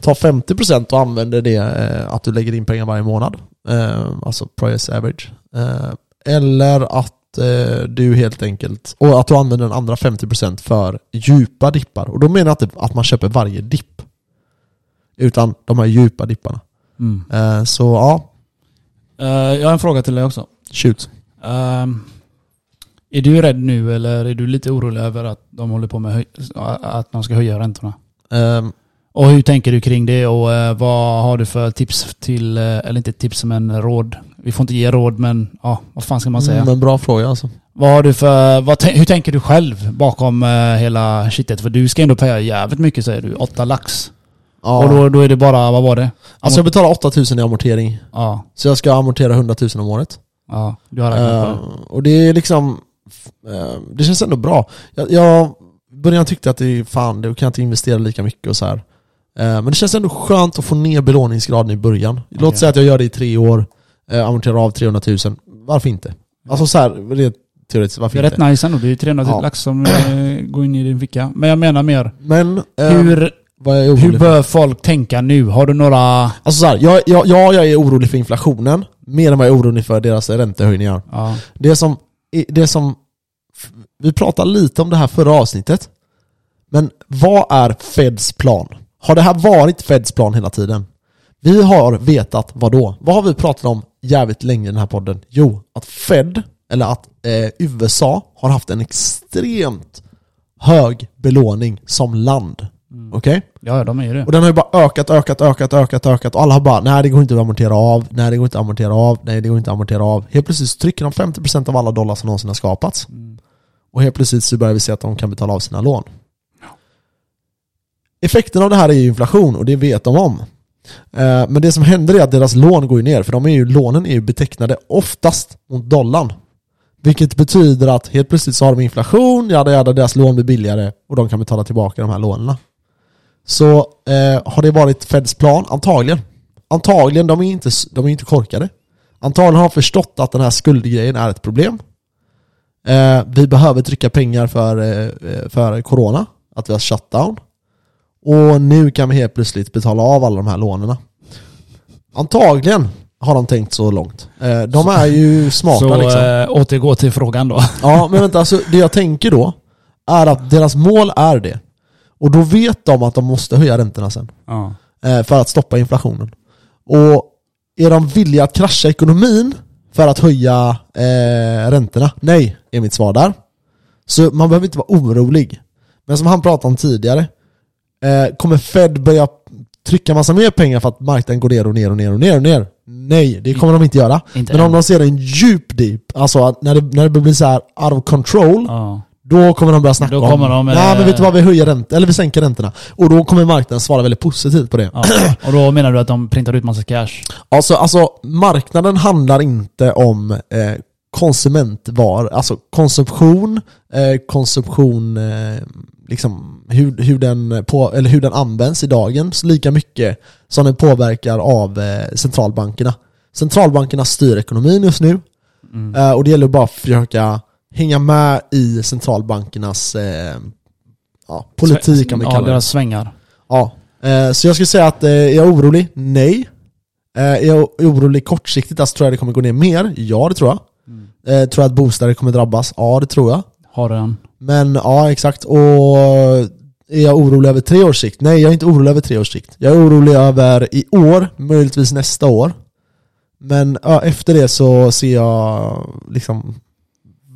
S1: tar 50% och använder det eh, att du lägger in pengar varje månad, eh, alltså price average. Eh, Eller att eh, du helt enkelt, och att du använder den andra 50% för djupa dippar. Och då menar jag inte att man köper varje dipp. Utan de här djupa dipparna. Eh, så ja,
S2: Mm. Eh, jag har en fråga till dig också.
S1: shoot.
S2: Ehm, är du rädd nu eller är du lite orolig över att de håller på med höj- att man ska höja räntorna?
S1: Ehm,
S2: Och hur tänker du kring det och eh, vad har du för tips till, eh, eller inte tips men råd? Vi får inte ge råd men ja, vad fan ska man säga?
S1: mm, men bra fråga alltså.
S2: Vad har du för, vad, tän- hur tänker du själv bakom eh, hela shitet? För du ska ändå paya jävligt mycket säger du, åtta lax.
S1: Ja.
S2: Och då, då är det bara, vad var det?
S1: alltså jag betalar 8000 i amortering.
S2: Ja,
S1: Så jag ska amortera 100 000 om året.
S2: ja, du har räknat på
S1: Eh,
S2: det.
S1: och det är liksom, eh, det känns ändå bra. Jag, jag i början tyckte att det fan, det kan jag inte investera lika mycket och så här. Eh, men det känns ändå skönt att få ner belåningsgraden i början. Låt
S2: Okej.
S1: säga att jag gör det i tre år, eh, amorterar av 300 000. Varför inte? Alltså så här, rent teoretiskt, varför
S2: Det är
S1: inte?
S2: rätt nice ändå, det är ju 300
S1: Ja.
S2: lax som eh, går in i din ficka. Men jag menar mer,
S1: Men, eh,
S2: hur,
S1: vad jag är orolig
S2: hur
S1: för?
S2: bör folk tänka nu? Har du några...
S1: Alltså så här, jag, jag, ja, jag är orolig för inflationen, mer än vad jag är orolig för deras räntehöjningar.
S2: Ja,
S1: Det som, det som... Vi pratade lite om det här förra avsnittet. Men vad är Feds plan? Har det här varit Feds plan hela tiden? Vi har vetat vad då? Vad har vi pratat om jävligt länge i den här podden? Jo, att Fed, eller att eh, USA, har haft en extremt hög belåning som land. Okej?
S2: ja de är ju det.
S1: Och den har ju bara ökat, ökat, ökat, ökat, ökat. Och alla har bara nej det går inte att amortera av, nej det går inte att amortera av, nej det går inte att amortera av. Helt plötsligt så trycker de 50% av alla dollar som någonsin har skapats. Och helt plötsligt så börjar vi se att de kan betala av sina lån. Effekten av det här är ju inflation och det vet de om. Eh, Men det som händer är att deras lån går ju ner för de är ju, lånen är ju betecknade oftast mot dollarn. Vilket betyder att helt plötsligt så har de inflation, jada jada, deras lån blir billigare och de kan betala tillbaka de här lånen. Så eh, har det varit Feds plan? Antagligen. Antagligen, de är inte, s- de är inte korkade. Antagligen har de förstått att den här skuldgrejen är ett problem. Eh, vi behöver trycka pengar för, eh, eh, för corona, att vi har shutdown. Och nu kan vi helt plötsligt betala av alla de här lånen. Antagligen har de tänkt så långt. Eh, de är ju smarta
S2: Så
S1: liksom.
S2: eh, återgå till frågan då.
S1: Ja, men vänta, alltså, det jag tänker då är att deras mål är det. Och då vet de att de måste höja räntorna sen
S2: (laughs) Ja.
S1: eh, för att stoppa inflationen. Och är de villiga att krascha ekonomin för att höja eh, räntorna? Nej, är mitt svar där. Så man behöver inte vara orolig. Men som han pratade om tidigare, eh, kommer Fed börja trycka massa mer pengar för att marknaden går ner och ner och ner och ner? Och ner? Nej, det kommer de inte göra.
S2: Inte
S1: Men om
S2: än.
S1: de ser en djup dip, alltså att när det, när det blir så här out of control,
S2: Ja.
S1: då kommer de börja snacka
S2: Då kommer
S1: om...
S2: de,
S1: Nej
S2: eh,
S1: men vet du vad, vi höjer räntorna, eller vi sänker räntorna. Och då kommer marknaden svara väldigt positivt på det.
S2: ja. Och då menar du att de printar ut massa cash?
S1: Alltså, alltså marknaden handlar inte om eh, konsumentvar, alltså konsumtion, eh, konsumtion, eh, liksom hur, hur, den på, eller hur den används i dagens lika mycket som den påverkar av eh, centralbankerna. Centralbankerna styr ekonomin just nu
S2: Mm.
S1: eh, och det gäller bara att försöka hänga med i centralbankernas eh, ja, politik kan vi
S2: Ja,
S1: kalla det.
S2: deras svängar.
S1: Ja. Eh, Så jag skulle säga att eh, är jag orolig? Nej. Eh, Är jag orolig kortsiktigt? Alltså tror jag det kommer gå ner mer? Ja, det tror jag. Eh, Tror jag att bostäder kommer drabbas? Ja, det tror jag.
S2: Har den.
S1: Men ja, exakt. Och är jag orolig över tre års sikt? Nej, jag är inte orolig över tre års sikt. Jag är orolig över i år, möjligtvis nästa år. Men ja, efter det så ser jag liksom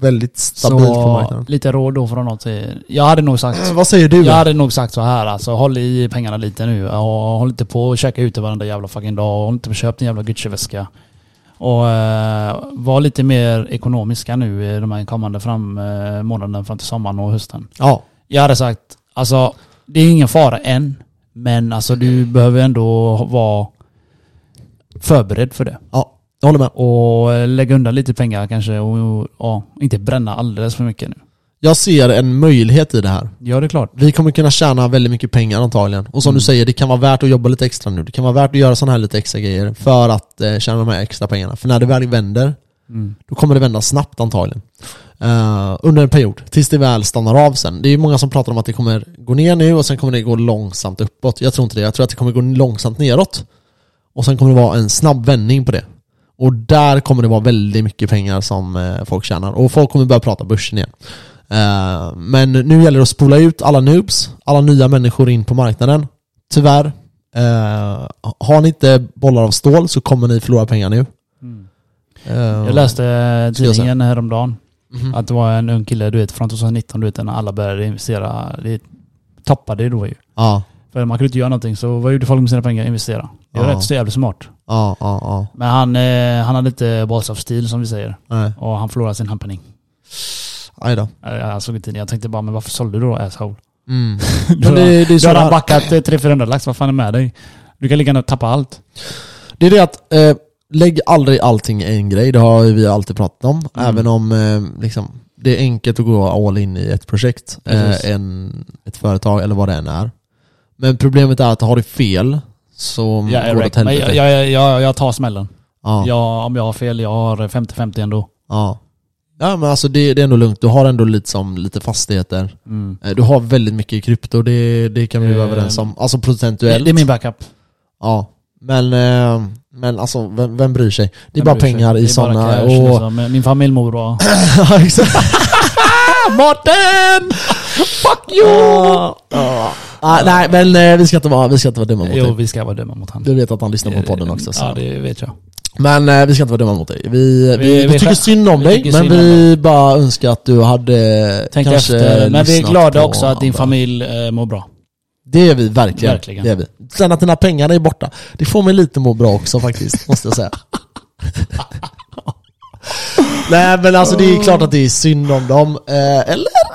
S1: väldigt stabilt på
S2: Så
S1: marknaden. Eh,
S2: lite råd då från något. till- Jag hade nog sagt
S1: Vad säger du?
S2: Jag hade nog sagt så här alltså, håll i pengarna lite nu. Och håll inte på och käka ute varenda jävla fucking dag. Och håll inte på och köp din jävla Gucci-väska. Och eh, var lite mer ekonomiska nu i de här kommande fram, eh, månaderna fram till sommaren och hösten.
S1: Ja.
S2: Jag hade sagt, alltså det är ingen fara än. Men alltså du behöver ändå vara förberedd för det.
S1: ja, jag håller med.
S2: Och eh, lägga undan lite pengar kanske och, och, ja, inte bränna alldeles för mycket nu.
S1: Jag ser en möjlighet i det här.
S2: Ja det är klart.
S1: Vi kommer kunna tjäna väldigt mycket pengar antagligen. Och som du säger, det kan vara värt att jobba lite extra nu. Det kan vara värt att göra sådana här lite extra grejer för att eh, tjäna de här extra pengarna. För när det väl vänder, då kommer det vända snabbt antagligen. Eh, under en period, tills det väl stannar av sen. Det är ju många som pratar om att det kommer gå ner nu och sen kommer det gå långsamt uppåt. Jag tror inte det. Jag tror att det kommer gå långsamt neråt. Och sen kommer det vara en snabb vändning på det. Och där kommer det vara väldigt mycket pengar som eh, folk tjänar. Och folk kommer börja prata börsen igen. Eh, men nu gäller det att spola ut alla noobs, alla nya människor in på marknaden. Tyvärr. Eh, har ni inte bollar av stål så kommer ni förlora pengar nu. Eh,
S2: Mm. Jag läste
S1: Ska jag säga. Mhm.
S2: tidningen häromdagen. Att det var en ung kille, du vet, från 2019, du vet, när alla började investera. Det tappade ju då ju.
S1: Ja,
S2: För man kunde inte göra någonting, så vad gjorde folk med sina pengar? Investera. Det var
S1: Ja.
S2: rätt så jävligt smart.
S1: ja, ja, ja.
S2: Men han, eh, han hade inte balls of steel som vi säger.
S1: Nej,
S2: Och han förlorade sin handpenning.
S1: aj då.
S2: Eh, Jag såg inte Jag tänkte bara, men varför sålde du då asshole?
S1: Mm.
S2: Då,
S1: Men det- det är så
S2: då hade
S1: här-
S2: han backat eh, 300-400 lax, vad fan är med dig? Du kan lika gärna tappa allt.
S1: Det är det att eh, lägg aldrig allting i en grej, det har ju vi alltid pratat om.
S2: Mm.
S1: Även om eh, liksom, det är enkelt att gå all in i ett projekt,
S2: Precis.
S1: eh, en, ett företag eller vad det än är. Men problemet är att har du fel så
S2: Jag
S1: går
S2: är
S1: det Mm, åt
S2: wrecked. men
S1: helvete.
S2: jag, jag, jag, jag tar smällen.
S1: ja, ja.
S2: Jag, om jag har fel, jag har 50-50 ändå.
S1: Ja. men alltså det, det är ändå lugnt, du har ändå lite, som, lite fastigheter. Eh, Du har väldigt mycket i krypto, det, det kan vi vara
S2: Mm. Eh,
S1: överens om. Alltså
S2: Det,
S1: procentuellt.
S2: det är min backup.
S1: Ja, men, eh, men alltså vem, vem bryr sig? Det är bara
S2: Jag bryr sig.
S1: pengar
S2: Det är
S1: i
S2: bara
S1: sådana
S2: cash,
S1: och...
S2: liksom. Min familj mår bra.
S1: (laughs) Ja, exakt. (laughs) Martin! Fuck you! Ah, nej, men eh, vi ska inte vara, vi ska inte vara dumma mot
S2: jo,
S1: dig.
S2: vi ska vara dumma mot honom.
S1: Du vet att han lyssnar på podden också. Så.
S2: Ja, det vet jag.
S1: Men eh, vi ska inte vara dumma mot dig. Vi, vi,
S2: Vi-
S1: vi,
S2: vi
S1: tycker
S2: skär-
S1: synd om
S2: vi
S1: dig,
S2: tycker
S1: men
S2: synd om
S1: vi bara önskar att du hade
S2: Tänk
S1: kanske
S2: efter. Men vi är
S1: lyssnat
S2: glada
S1: på
S2: också att din
S1: andra.
S2: familj eh,
S1: (laughs)
S2: mår bra.
S1: Det är vi verkligen.
S2: Verkligen.
S1: Det är vi. Sen att dina pengar är borta, det får mig lite må bra också faktiskt, måste
S2: (laughs)
S1: jag säga. Nej men alltså det är klart att det är synd om dem, eh, eller?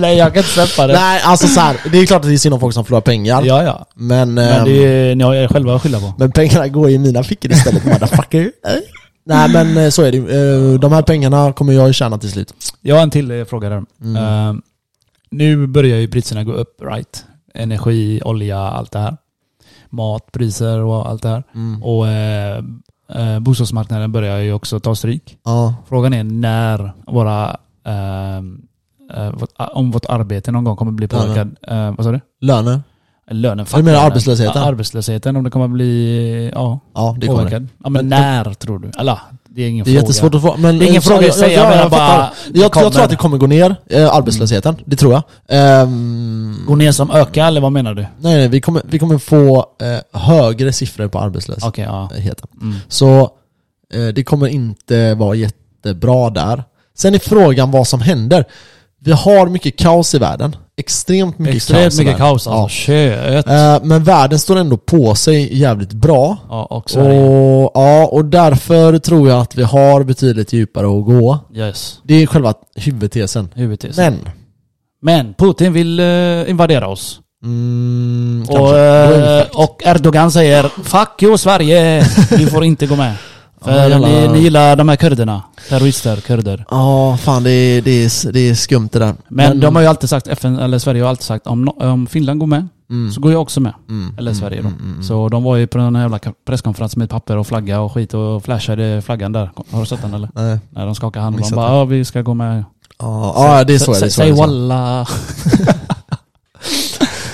S2: Nej, jag kan inte släppa det.
S1: Nej alltså så här, det är klart att det är synd om folk som förlorar pengar.
S2: Ja, ja.
S1: Men,
S2: Men
S1: ehm,
S2: det är, ni har er själva att skylla på.
S1: men pengarna går i mina fickor istället
S2: (laughs)
S1: motherfucker. Eh. Nej men eh, så är det ju. Eh, De här pengarna kommer jag ju tjäna till slut.
S2: Jag har en till eh, fråga där.
S1: Mm.
S2: Eh, nu börjar ju priserna gå upp, right? Energi, olja, allt det här. Matpriser och allt det här.
S1: Mm.
S2: Och eh, eh, bostadsmarknaden börjar ju också ta stryk.
S1: Ja.
S2: Frågan är när våra... Eh, eh, vårt, om vårt arbete någon gång kommer bli
S1: Lönen.
S2: påverkad. Eh, vad sa du?
S1: Löner?
S2: Lönen.
S1: Du menar
S2: lönen.
S1: arbetslösheten?
S2: Ja, arbetslösheten, om det kommer bli... Ja,
S1: Ja det kommer det.
S2: påverkad. Ja, men när tror du? Alla, det är ingen
S1: Det är
S2: fråga.
S1: jättesvårt att få, men... eh,
S2: Det är ingen
S1: så-
S2: fråga i sig, jag menar bara-
S1: fattar. Jag,
S2: det
S1: jag tror att det
S2: kommer.
S1: kommer gå ner, eh, arbetslösheten. Det tror jag. Ehm,
S2: Går ner som ökar, eller vad menar du? Okej,
S1: nej, nej, vi kommer, vi kommer få eh, högre siffror på arbetslösheten.
S2: ja. Mm.
S1: Så eh, det kommer inte vara jättebra där. Sen är frågan vad som händer. Vi har mycket kaos i världen. Extremt mycket kaos
S2: Extremt
S1: i
S2: mycket
S1: världen.
S2: kaos alltså. Kött.
S1: Ja. Eh, men världen står ändå på sig jävligt bra.
S2: Ja, och Sverige.
S1: Och, ja, och därför tror jag att vi har betydligt djupare att gå.
S2: Yes.
S1: Det är själva huvudtesen.
S2: Huvudtesen. Men,
S1: Men,
S2: Putin vill eh, invadera oss.
S1: mm, kanske.
S2: Och,
S1: Då är vi
S2: eh,
S1: fucked.
S2: och Erdogan säger 'Fuck you Sverige! Ni får inte
S1: (laughs)
S2: gå med' För
S1: jävla-
S2: ni, ni gillar de här kurderna. Terrorister, kurder.
S1: Ja, fan det är, det, är, det är skumt det där.
S2: Men de har ju alltid sagt, FN, eller Sverige har alltid sagt om, no- om Finland går med
S1: Mm.
S2: så går jag också med. Eller Sverige då. Så de var ju på den här jävla presskonferensen med papper och flagga och skit och flashade flaggan där. Har du sett den eller?
S1: Nej.
S2: När de skakar hand och de
S1: Missat
S2: bara
S1: den.
S2: ja vi ska gå med.
S1: Ja, ja, det är så.
S2: Sä-
S1: det är så, det
S2: Säg
S1: är så.
S2: walla.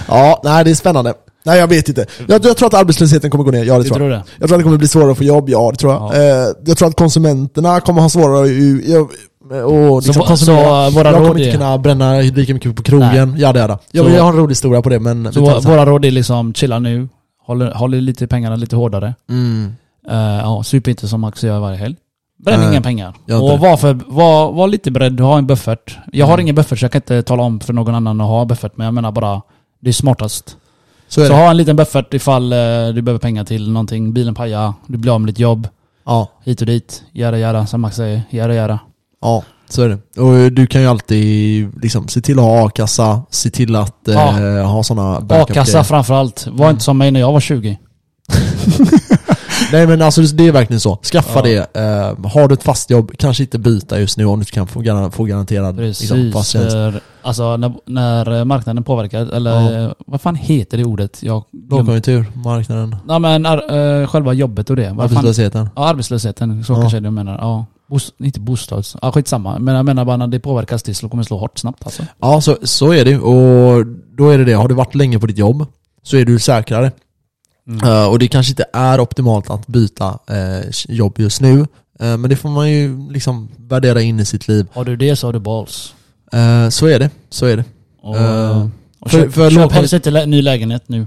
S1: Ja, nej det är spännande. Nej jag vet inte. Jag, jag tror att arbetslösheten kommer gå ner, ja det
S2: Du
S1: tror
S2: tror
S1: jag.
S2: det?
S1: Jag tror att det kommer bli svårare att få jobb, ja det tror jag.
S2: Ja.
S1: Eh, jag tror att konsumenterna kommer ha svårare att ju- ju- och liksom
S2: va-
S1: konsumera.
S2: så våra
S1: jag
S2: råd
S1: kommer inte
S2: är-
S1: kunna bränna lika mycket på krogen. Ja det är det. Jag,
S2: Så-
S1: jag har en rolig historia på det men... vi
S2: Så
S1: tar det
S2: våra,
S1: sen.
S2: våra råd är liksom chilla nu. Håll, håll i lite pengarna lite hårdare.
S1: Mm.
S2: Eh, ja, sup inte som Max gör varje helg. Bränn
S1: Nej,
S2: inga pengar.
S1: Eh, jag
S2: Och
S1: inte. Mm.
S2: var, för, var, var lite beredd, ha en buffert. Jag har ingen buffert så jag kan inte tala om för någon annan att ha en buffert. Men jag menar bara, det är smartast.
S1: Så är
S2: Så
S1: det.
S2: ha en liten buffert ifall eh, du behöver pengar till någonting. Bilen pajar, du blir av med ditt jobb.
S1: Ja,
S2: Hit och dit. Göra, göra, som Max säger. Göra, göra.
S1: ja. Så är det. Och eh, du kan ju alltid liksom, se till att ha a-kassa, se till att eh,
S2: Ja.
S1: ha sådana
S2: A-kassa
S1: backup-grejer.
S2: framförallt.
S1: Mm.
S2: Var inte som mig när jag var 20.
S1: Nej men alltså det är verkligen så. Skaffa det. Eh, har du ett fast jobb, kanske inte byta just nu om du inte kan få, gar- få garanterad liksom, fast
S2: Precis.
S1: tjänst.
S2: Eh, Alltså när, när marknaden påverkar, eller eh, vad fan heter det ordet? Jag glömde.
S1: Lågkonjunktur, marknaden,
S2: Nej men ar- eh, själva jobbet och det. Vad fan-
S1: arbetslösheten.
S2: Ja, arbetslösheten. Så
S1: Ja.
S2: kanske du menar. Ja. Bost, inte bostads... Ja, skitsamma. Men jag menar bara när det påverkas till så kommer det slå hårt snabbt alltså.
S1: Ja, så, så är det ju. Och då är det det. Har du varit länge på ditt jobb så är du säkrare.
S2: Mm.
S1: Eh, och det kanske inte är optimalt att byta eh, jobb just nu. Eh, men det får man ju liksom värdera in i sitt liv.
S2: Har du det så har du balls.
S1: Eh, så är det, så är det.
S2: Och,
S1: Eh,
S2: och
S1: för-
S2: köp,
S1: för
S2: köp
S1: lågkonjunktur-
S2: helst inte lä- ny lägenhet nu.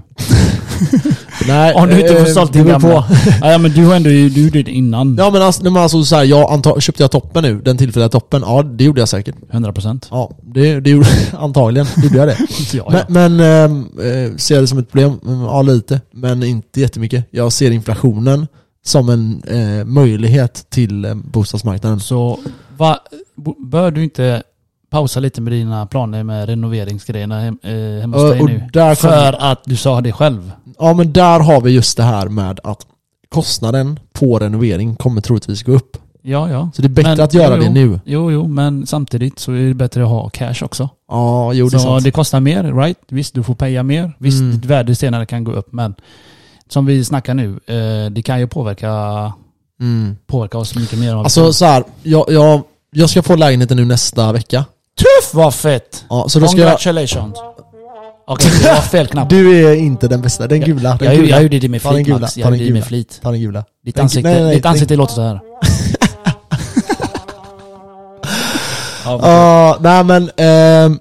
S1: Nej,
S2: Om du inte
S1: eh,
S2: får sålt
S1: det
S2: din
S1: beror på.
S2: gamla. (laughs) Ja, ja, men du har ändå ju- du gjorde det innan.
S1: Ja men alltså, nej, men alltså så här, jag anta- köpte jag toppen nu, den tillfälliga toppen? Ja det gjorde jag säkert.
S2: 100%.
S1: Ja, det, det gjorde, (laughs) antagligen gjorde jag det.
S2: Ja, ja.
S1: Men, men ehm, eh, ser jag det som ett problem? Mm, Ja, lite. Men inte jättemycket. Jag ser inflationen som en eh, möjlighet till eh, bostadsmarknaden.
S2: Så va, bo- bör du inte pausa lite med dina planer med renoveringsgrejerna hem, eh, hemma hos
S1: Och-
S2: dig
S1: och
S2: nu?
S1: där
S2: För att du sa det själv.
S1: Ja, men där har vi just det här med att kostnaden på renovering kommer troligtvis gå upp.
S2: Ja, ja.
S1: Så det är bättre att göra
S2: jo,
S1: det
S2: jo.
S1: nu.
S2: Jo, jo, men samtidigt så är det bättre att ha cash också.
S1: Ja, jo det är
S2: så
S1: sant.
S2: det kostar mer, right? Visst, du får paya mer. Visst,
S1: Mm.
S2: ditt värde senare kan gå upp, men som vi snackar nu, eh, det kan ju påverka,
S1: Mm.
S2: påverka oss mycket mer. än vad vi
S1: Alltså
S2: tror.
S1: så här, jag, jag, jag ska få lägenheten nu nästa vecka.
S2: Tuff vad fett!
S1: Ja, så då ska jag...
S2: Congratulations! Okej, det var fel knapp.
S1: Du är inte den bästa, den gula. Den
S2: jag gjorde-
S1: gula.
S2: jag gjorde det med
S1: Ta den
S2: flit,
S1: gula,
S2: Max.
S1: ta
S2: Jag
S1: den
S2: gjorde det med
S1: gula.
S2: flit.
S1: Ta den gula.
S2: Ditt
S1: Den-
S2: ansikte,
S1: nej, nej,
S2: ditt
S1: den-
S2: ansikte låter så här. ja, men-
S1: (laughs) Ja, nej men... ehm,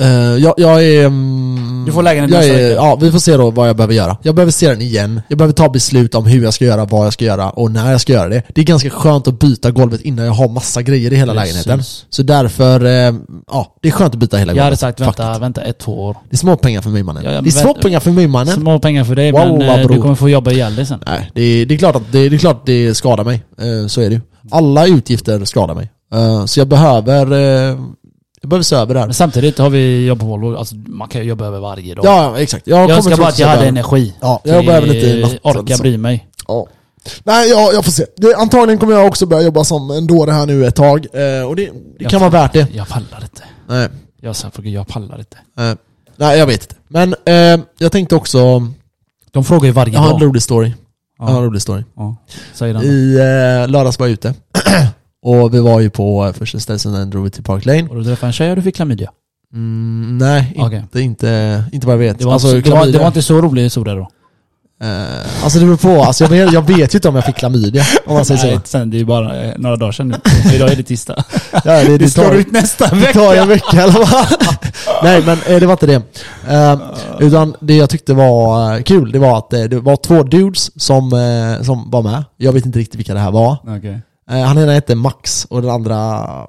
S1: eh, jag, jag är... mm,
S2: Du får lägenhet
S1: jag
S2: nästa
S1: är,
S2: vecka.
S1: Ja, vi får se då vad jag behöver göra. Jag behöver se den igen. Jag behöver ta beslut om hur jag ska göra, vad jag ska göra och när jag ska göra det. Det är ganska skönt att byta golvet innan jag har massa grejer i hela
S2: Precis.
S1: lägenheten. Så därför, ehm, ja, det är skönt att byta hela
S2: jag hade
S1: golvet.
S2: sagt
S1: Fuck
S2: vänta,
S1: it.
S2: vänta ett, två år.
S1: Det är små pengar för mig mannen.
S2: Ja, ja, men
S1: det är små
S2: vänta.
S1: pengar för mig mannen.
S2: Små pengar för dig,
S1: Wow,
S2: men
S1: vad
S2: eh, du
S1: bro.
S2: kommer få jobba ihjäl dig sen.
S1: Nej, det, det, är klart att det, det är klart att det skadar mig. Eh, så är det ju. Alla utgifter skadar mig. Eh, så jag behöver, eh, jag behöver se över det här.
S2: Men samtidigt har vi jobb på Volvo. Alltså, man kan ju jobba över varje dag.
S1: Ja, ja, exakt. Jag,
S2: jag
S1: kommer
S2: önskar bara att
S1: troligtvis
S2: jag hade
S1: behöva-
S2: energi.
S1: Ja,
S2: Till-
S1: jag behöver lite natt,
S2: Orka
S1: liksom.
S2: bry mig.
S1: Ja. Nej, ja, jag får se. Det, antagligen kommer jag också börja jobba som en dåre här nu ett tag. Eh, och det, det
S2: Jag
S1: kan vara
S2: pallar
S1: värt det.
S2: inte. Jag pallar inte.
S1: Nej,
S2: Jag sa för jag pallar inte.
S1: eh, nej, jag vet inte. Men eh, jag tänkte också,
S2: De frågar ju varje
S1: jag har en
S2: dag.
S1: rolig story. Jag har en rolig story.
S2: Ja, säger den.
S1: I eh, lördags var jag ute. (clears throat) och vi var ju på eh, första stället, sen drog vi till Park Lane.
S2: Och du träffade en tjej och du fick klamydia.
S1: Mm, nej,
S2: Okej.
S1: inte, inte, inte vad jag vet.
S2: Det var,
S1: alltså,
S2: inte, det, var, det
S1: klamydia-
S2: var inte så rolig historia då.
S1: eh, alltså det beror på. Alltså, jag, vet- jag vet ju inte om jag fick klamydia, om man säger så.
S2: Nej, sen, det är bara eh, några dagar sedan
S1: (laughs)
S2: nu. Idag är det tisdag.
S1: Ja, det, det tar-
S2: nästa
S1: Det tar en vecka i alla fall. (laughs) Nej men eh, det var inte det. Eh, utan det jag tyckte var eh, kul, det var att eh, det var två dudes som, eh, som var med. Jag vet inte riktigt vilka det här var.
S2: Okej.
S1: Eh, han ena hette Max och den andra,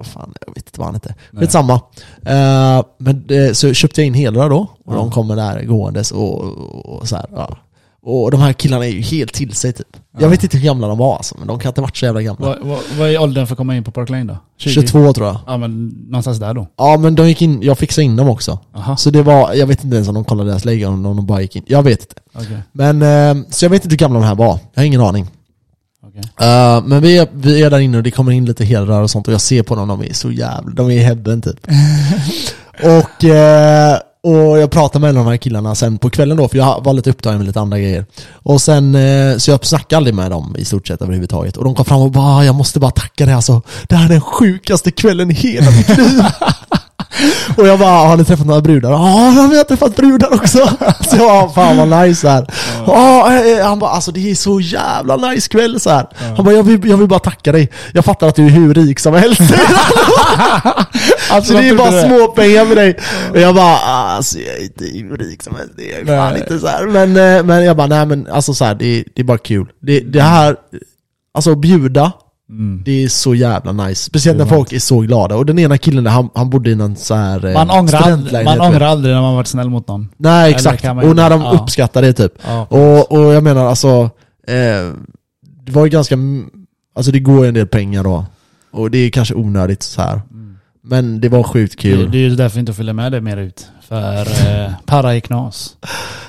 S1: fan jag vet inte vad han hette. Skitsamma. Eh, men eh, så köpte jag in hela då och de kommer där gåendes och, och, och så här, ja. Och de här killarna är ju helt till sig typ. Jag vet inte hur gamla de var alltså, men de kan inte ha varit så jävla gamla.
S2: Vad, vad, vad är åldern för att komma in på Park Lane då? 20?
S1: 22 tror jag.
S2: Ja men någonstans där då.
S1: Ja men de gick in, jag fixade in dem också.
S2: Aha.
S1: Så det var, jag vet inte ens om de kollade deras läge, om de bara gick in. Jag vet inte.
S2: Okej.
S1: Men, eh, så jag vet inte hur gamla de här var. Jag har ingen aning.
S2: okej.
S1: Eh, men vi är, vi är där inne och det kommer in lite hedrar och sånt och jag ser på dem, de är så jävla, de är i heaven typ. och, eh, och jag pratade med en av de här killarna sen på kvällen då, för jag var lite upptagen med lite andra grejer. Och sen, eh, så jag snackade aldrig med dem i stort sett överhuvudtaget. Och de kom fram och bara, "Ah, jag måste bara tacka dig alltså. Det här är den sjukaste kvällen i hela mitt liv. (laughs) Och jag bara, har ni träffat några brudar? Ja, jag har träffat brudar också. (laughs) Så jag bara, fan vad nice här. Ja, eh, han bara, alltså det är så jävla nice kväll så här. Han bara, jag vill, jag vill bara tacka dig. Jag fattar att du är hur rik som helst. (laughs)
S2: Alltså,
S1: Så det är
S2: vad
S1: bara
S2: trodde du?
S1: små pengar för dig. Och jag bara, alltså jag är inte hur rik som helst. Det är jag fan
S2: Nej.
S1: inte så här. Men, eh, men jag bara, nej men alltså så här, det, det är bara kul. Det, det här, alltså att bjuda,
S2: Mm.
S1: det är så jävla nice. Speciellt när folk är så glada. Och den ena killen där, han, han bodde i någon så här eh,
S2: Man ångrar, aldrig,
S1: studentlägenhet,
S2: man
S1: vet jag.
S2: ångrar aldrig när man varit snäll mot någon.
S1: Nej
S2: Eller
S1: exakt,
S2: kan man
S1: och
S2: inte?
S1: när de
S2: Ja.
S1: uppskattar det typ.
S2: Ja,
S1: och, och jag menar alltså, eh, det var ju ganska, m- alltså det går ju en del pengar då. Och det är kanske onödigt så här.
S2: Mm.
S1: Men det var sjukt
S2: Det,
S1: kul.
S2: det är ju därför jag inte följer med dig mer ut. För eh, para är knas.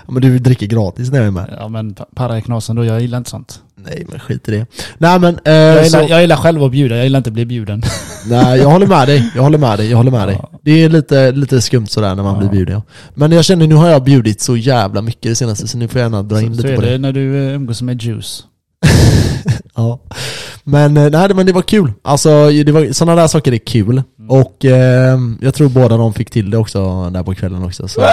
S1: Ja, Men du dricker gratis när jag är med.
S2: Ja men pa- para är knas ändå, jag gillar inte sånt.
S1: Nej men skit i det. Nej men, eh,
S2: Jag gillar,
S1: så,
S2: jag gillar själv att bjuda, jag gillar inte att bli bjuden.
S1: (laughs) nej, jag håller med dig. Jag håller med dig. Jag håller med dig.
S2: Ja.
S1: Det är lite, lite skumt sådär när man blir bjuden. ja. Men jag känner nu har jag bjudit så jävla mycket det senaste så nu får jag gärna dra in
S2: (laughs) Så
S1: lite
S2: är
S1: på det.
S2: det när du eh, umgås med juice.
S1: Ja. Men, eh, nej, men det var kul. Alltså, det var, sådana där saker är
S2: Mm.
S1: kul. Och eh, jag tror båda de fick till det också där på kvällen också. Så. Eh,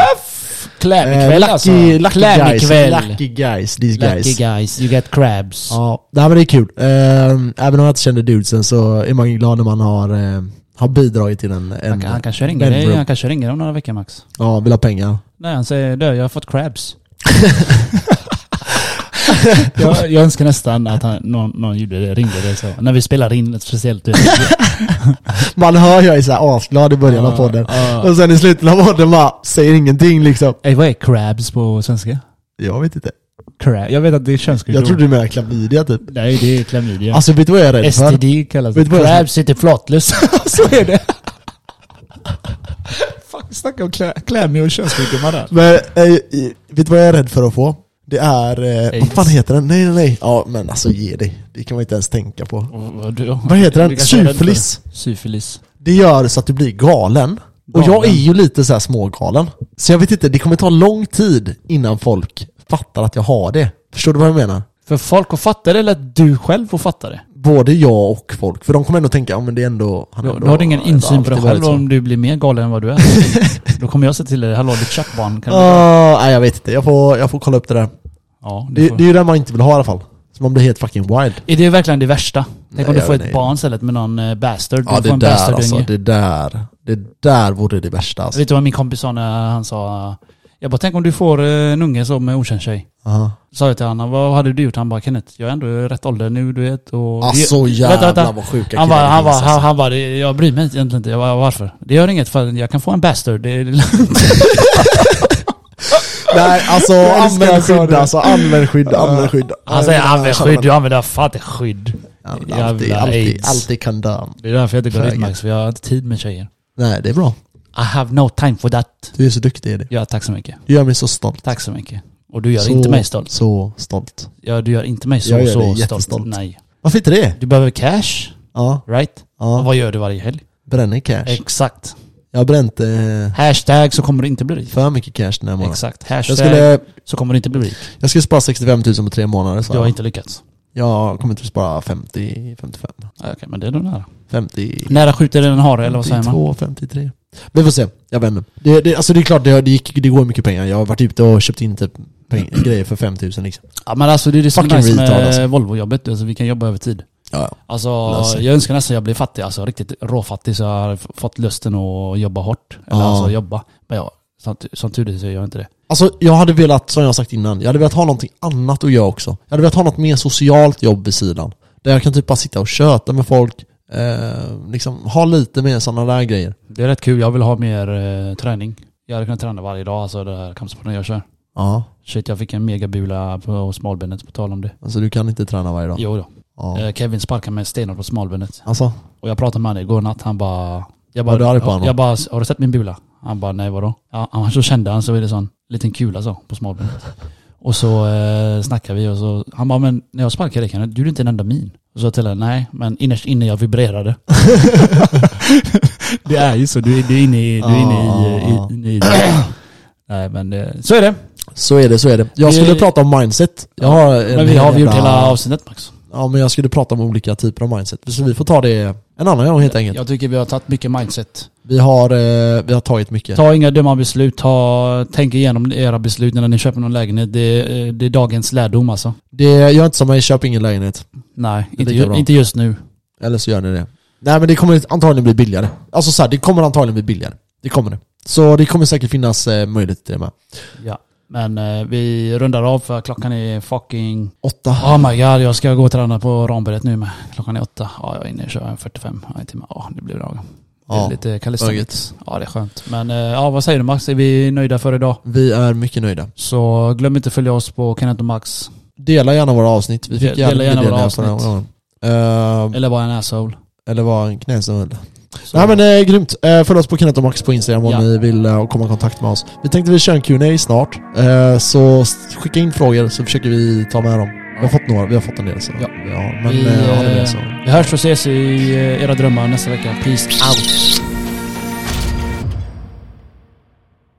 S2: Klämmikväll
S1: lucky,
S2: alltså.
S1: lucky guys,
S2: Klämmikväll.
S1: lucky guys, these guys.
S2: Lucky guys. You get crabs.
S1: Ja, nej, men det är kul. Eh, även om jag inte känner dudesen så är man glad när man har, eh, har bidragit till en... en
S2: Han, kan- han kanske ringer
S1: en
S2: dig,
S1: group.
S2: han kanske ringer dig om några veckor max.
S1: Ja, vill ha pengar.
S2: Nej, han säger du, jag har fått (laughs) crabs. jag, jag önskar nästan att han, någon, någon gjorde det, ringde det så. När vi spelar in ett speciellt typ.
S1: Man hör jag är såhär asglad i början av podden. Och sen i slutet av podden bara, säger ingenting liksom.
S2: Ey, vad är crabs på svenska?
S1: Jag vet inte.
S2: Crab. Jag vet att det är könskorridor.
S1: Jag trodde du menade klamydia typ.
S2: Nej, det är klamydia.
S1: Alltså vet du vad jag är rädd för?
S2: STD kallas det.
S1: Vet du vad jag-
S2: Crabs heter (laughs) flatlös. så är det. Fuck, snacka om klä- klämmig och könssjukdomar där.
S1: Men, eh, eh, vet du vad jag är rädd för att få? Det är... Eh, vad fan
S2: Aids.
S1: heter den? Nej nej nej. Ja men alltså ge dig. Det kan man inte ens tänka på.
S2: Vad
S1: heter den? Syfilis.
S2: Syfilis.
S1: Det gör så att du blir galen. Och jag är ju lite så här smågalen. Så jag vet inte, det kommer ta lång tid innan folk fattar att jag har det. Förstår du vad jag menar?
S2: För folk att fatta det eller att du själv får fatta det?
S1: Både jag och folk. För de kommer ändå tänka, ja men det är ändå... Han
S2: Du,
S1: är
S2: du har ingen
S1: ändå liksom.
S2: insyn på dig
S1: alltid
S2: själv
S1: varit så.
S2: om du blir mer galen än vad du är.
S1: (laughs)
S2: Då kommer jag säga till dig, hallå ditt tjackbarn. Kan du...
S1: Ah, nej jag vet inte, jag får, jag får kolla upp det där.
S2: Ja, du
S1: Det,
S2: får...
S1: det är ju det man inte vill ha i alla fall. Så man blir helt fucking wild.
S2: Är det verkligen det värsta? Tänk om
S1: Nej,
S2: du
S1: jag
S2: får ett
S1: vet inte.
S2: barn istället med någon eh, bastard.
S1: Ja
S2: du
S1: det
S2: får en
S1: där
S2: bastardunge.
S1: alltså, det där. Det där vore det värsta alltså.
S2: Vet du vad min kompis sa när han sa... Jag bara, tänk om du får eh, en unge som är okänd tjej.
S1: Aha.
S2: Sa jag till honom, vad hade du gjort? Han bara, Kenneth, jag är ändå i rätt ålder nu, du vet. Och
S1: Alltså,
S2: Det-
S1: jävlar vad sjuka killar
S2: han bara,
S1: det
S2: han, bara,
S1: finns,
S2: han,
S1: alltså.
S2: han bara, "Det- jag bryr mig egentligen inte. Jag bara, varför? Det gör inget, för jag kan få en bastard. Det är lugnt."
S1: Nej alltså
S2: älskar
S1: använd
S2: att du sa
S1: skydd
S2: det.
S1: alltså, använd skydd, använd skydd.
S2: Han säger, använd skydd. Du använder fan inte skydd.
S1: Jävla Alltid, alltid, alltid kondom.
S2: Det är därför jag inte går
S1: Frägen.
S2: dit Max, för jag har inte tid med tjejer.
S1: Nej, det är bra.
S2: I have no time for that.
S1: Du är så duktig i det.
S2: Ja, tack så mycket.
S1: Du gör mig så stolt.
S2: Tack så mycket. Och du gör
S1: så,
S2: inte mig stolt.
S1: Så stolt.
S2: Ja, du gör inte mig så,
S1: Jag gör dig
S2: så stolt.
S1: jättestolt.
S2: Nej.
S1: Varför inte det?
S2: Du behöver cash,
S1: Ja,
S2: right?
S1: Ja.
S2: Och vad gör du varje helg?
S1: bränner cash.
S2: Exakt.
S1: jag har bränt eh,
S2: Hashtag så kommer du inte bli rik.
S1: för mycket cash den här månaden.
S2: Exakt. Hashtag
S1: Jag skulle,
S2: så kommer du inte bli rik.
S1: jag skulle spara 65 000 på tre månader så
S2: Du har inte lyckats.
S1: Jag kommer inte spara 50, 55,
S2: Ja, Okej, men det är nog nära.
S1: 50,
S2: Nära skjuter en hare eller vad säger
S1: 52,
S2: man?
S1: 53. Vi får se, jag vet inte. Det, det, alltså det är klart, det, det, gick, det går mycket pengar. Jag har varit ute och köpt in typ peng, grejer för 5 000 liksom.
S2: Ja men alltså det är det som är
S1: Fucking
S2: nice
S1: retard,
S2: med
S1: alltså.
S2: Volvo-jobbet. Alltså, vi kan jobba över tid.
S1: Ja, ja.
S2: Alltså
S1: Lösning.
S2: jag önskar nästan jag blev fattig, alltså riktigt råfattig så jag har f- fått lusten att jobba hårt. Eller
S1: Ja.
S2: alltså jobba. Men jag, som, tu- som tur är så gör jag inte det.
S1: Alltså jag hade velat, som jag har sagt innan, jag hade velat ha någonting annat att göra också. Jag hade velat ha något mer socialt jobb vid sidan. Där jag kan typ bara sitta och köta med folk, eh, liksom ha lite mer sådana där grejer.
S2: Det är rätt kul, jag vill ha mer eh, träning. Jag hade kunnat träna varje dag, alltså det här kampsporten jag kör.
S1: Ja,
S2: Shit, jag fick en megabula på smalbenet på tal om det.
S1: alltså du kan inte träna varje dag.
S2: Jo då.
S1: Ja.
S2: Eh, Kevin sparkade mig stenhårt på smalbenet.
S1: Alltså,
S2: Och jag pratade med honom igår natt, han bara... Jag
S1: Var du arg på
S2: jag,
S1: honom?
S2: jag bara, har du sett min bula? Han bara, nej vadå? Ja, han så kände han så är det sån liten kula så, på smalbenet. och så eh, snackade vi och så, han bara, men när jag sparkade dig kan du gjorde inte en enda min. Och så sa jag till honom, nej, men innerst inne
S1: (laughs)
S2: jag vibrerade. det är ju så, du, du är inne i... Du är inne i,
S1: Ah.
S2: i, inne i det. Nej men eh, så är det.
S1: så är det, så är det. Jag skulle
S2: Vi-
S1: prata om mindset. Jag har en
S2: Men vi har vi gjort
S1: jävla-
S2: hela avsnittet Max.
S1: Ja men jag skulle prata om olika typer av mindset. Så vi får ta det en annan gång helt enkelt.
S2: Jag tycker vi har tagit mycket mindset.
S1: Vi har, eh, vi har tagit mycket.
S2: Ta inga dumma beslut. Ta, tänk igenom era beslut när ni köper någon lägenhet. Det, eh, det är dagens lärdom alltså.
S1: Det, gör inte som mig, köp ingen lägenhet.
S2: Nej, inte,
S1: tycker jag är
S2: ju,
S1: bra.
S2: inte just nu.
S1: Eller så gör ni det. Nej men det kommer antagligen bli billigare. Alltså så här, det kommer antagligen bli billigare. Det kommer det. Så det kommer säkert finnas eh, möjlighet till det med.
S2: Ja. Men eh, vi rundar av för klockan är fucking...
S1: Åtta.
S2: Oh my god, jag ska gå och träna på Ramberget nu med. Klockan är åtta. Ja, jag är inne och kör en 45 ja, en timme. Ja, det blir lagom. Det är
S1: Ja,
S2: lite
S1: öget.
S2: calisthenics. Ja, det är skönt. Men eh, ja, vad säger du Max? Är vi nöjda för idag?
S1: Vi är mycket nöjda.
S2: Så glöm inte att följa oss på Kenneth och Max.
S1: Dela gärna våra avsnitt. Vi fick
S2: Dela
S1: jävligt
S2: gärna
S1: mycket
S2: våra
S1: delar förra
S2: avsnitt.
S1: gången. Eh,
S2: Eller bara en asshole.
S1: eller var en knäsnövel.
S2: Så-
S1: Nej men eh, grymt. Eh, följ oss på Kenneth och Max på Instagram om
S2: Ja.
S1: ni vill eh, komma i kontakt med oss. Vi tänkte vi kör en Q&A snart. Eh, så s- skicka in frågor så försöker vi ta med dem. Vi har fått några, vi har fått en del så.
S2: Ja.
S1: ja men
S2: vi,
S1: eh, har ni
S2: eh,
S1: med så.
S2: vi hörs och ses i eh, era drömmar nästa vecka. Peace out.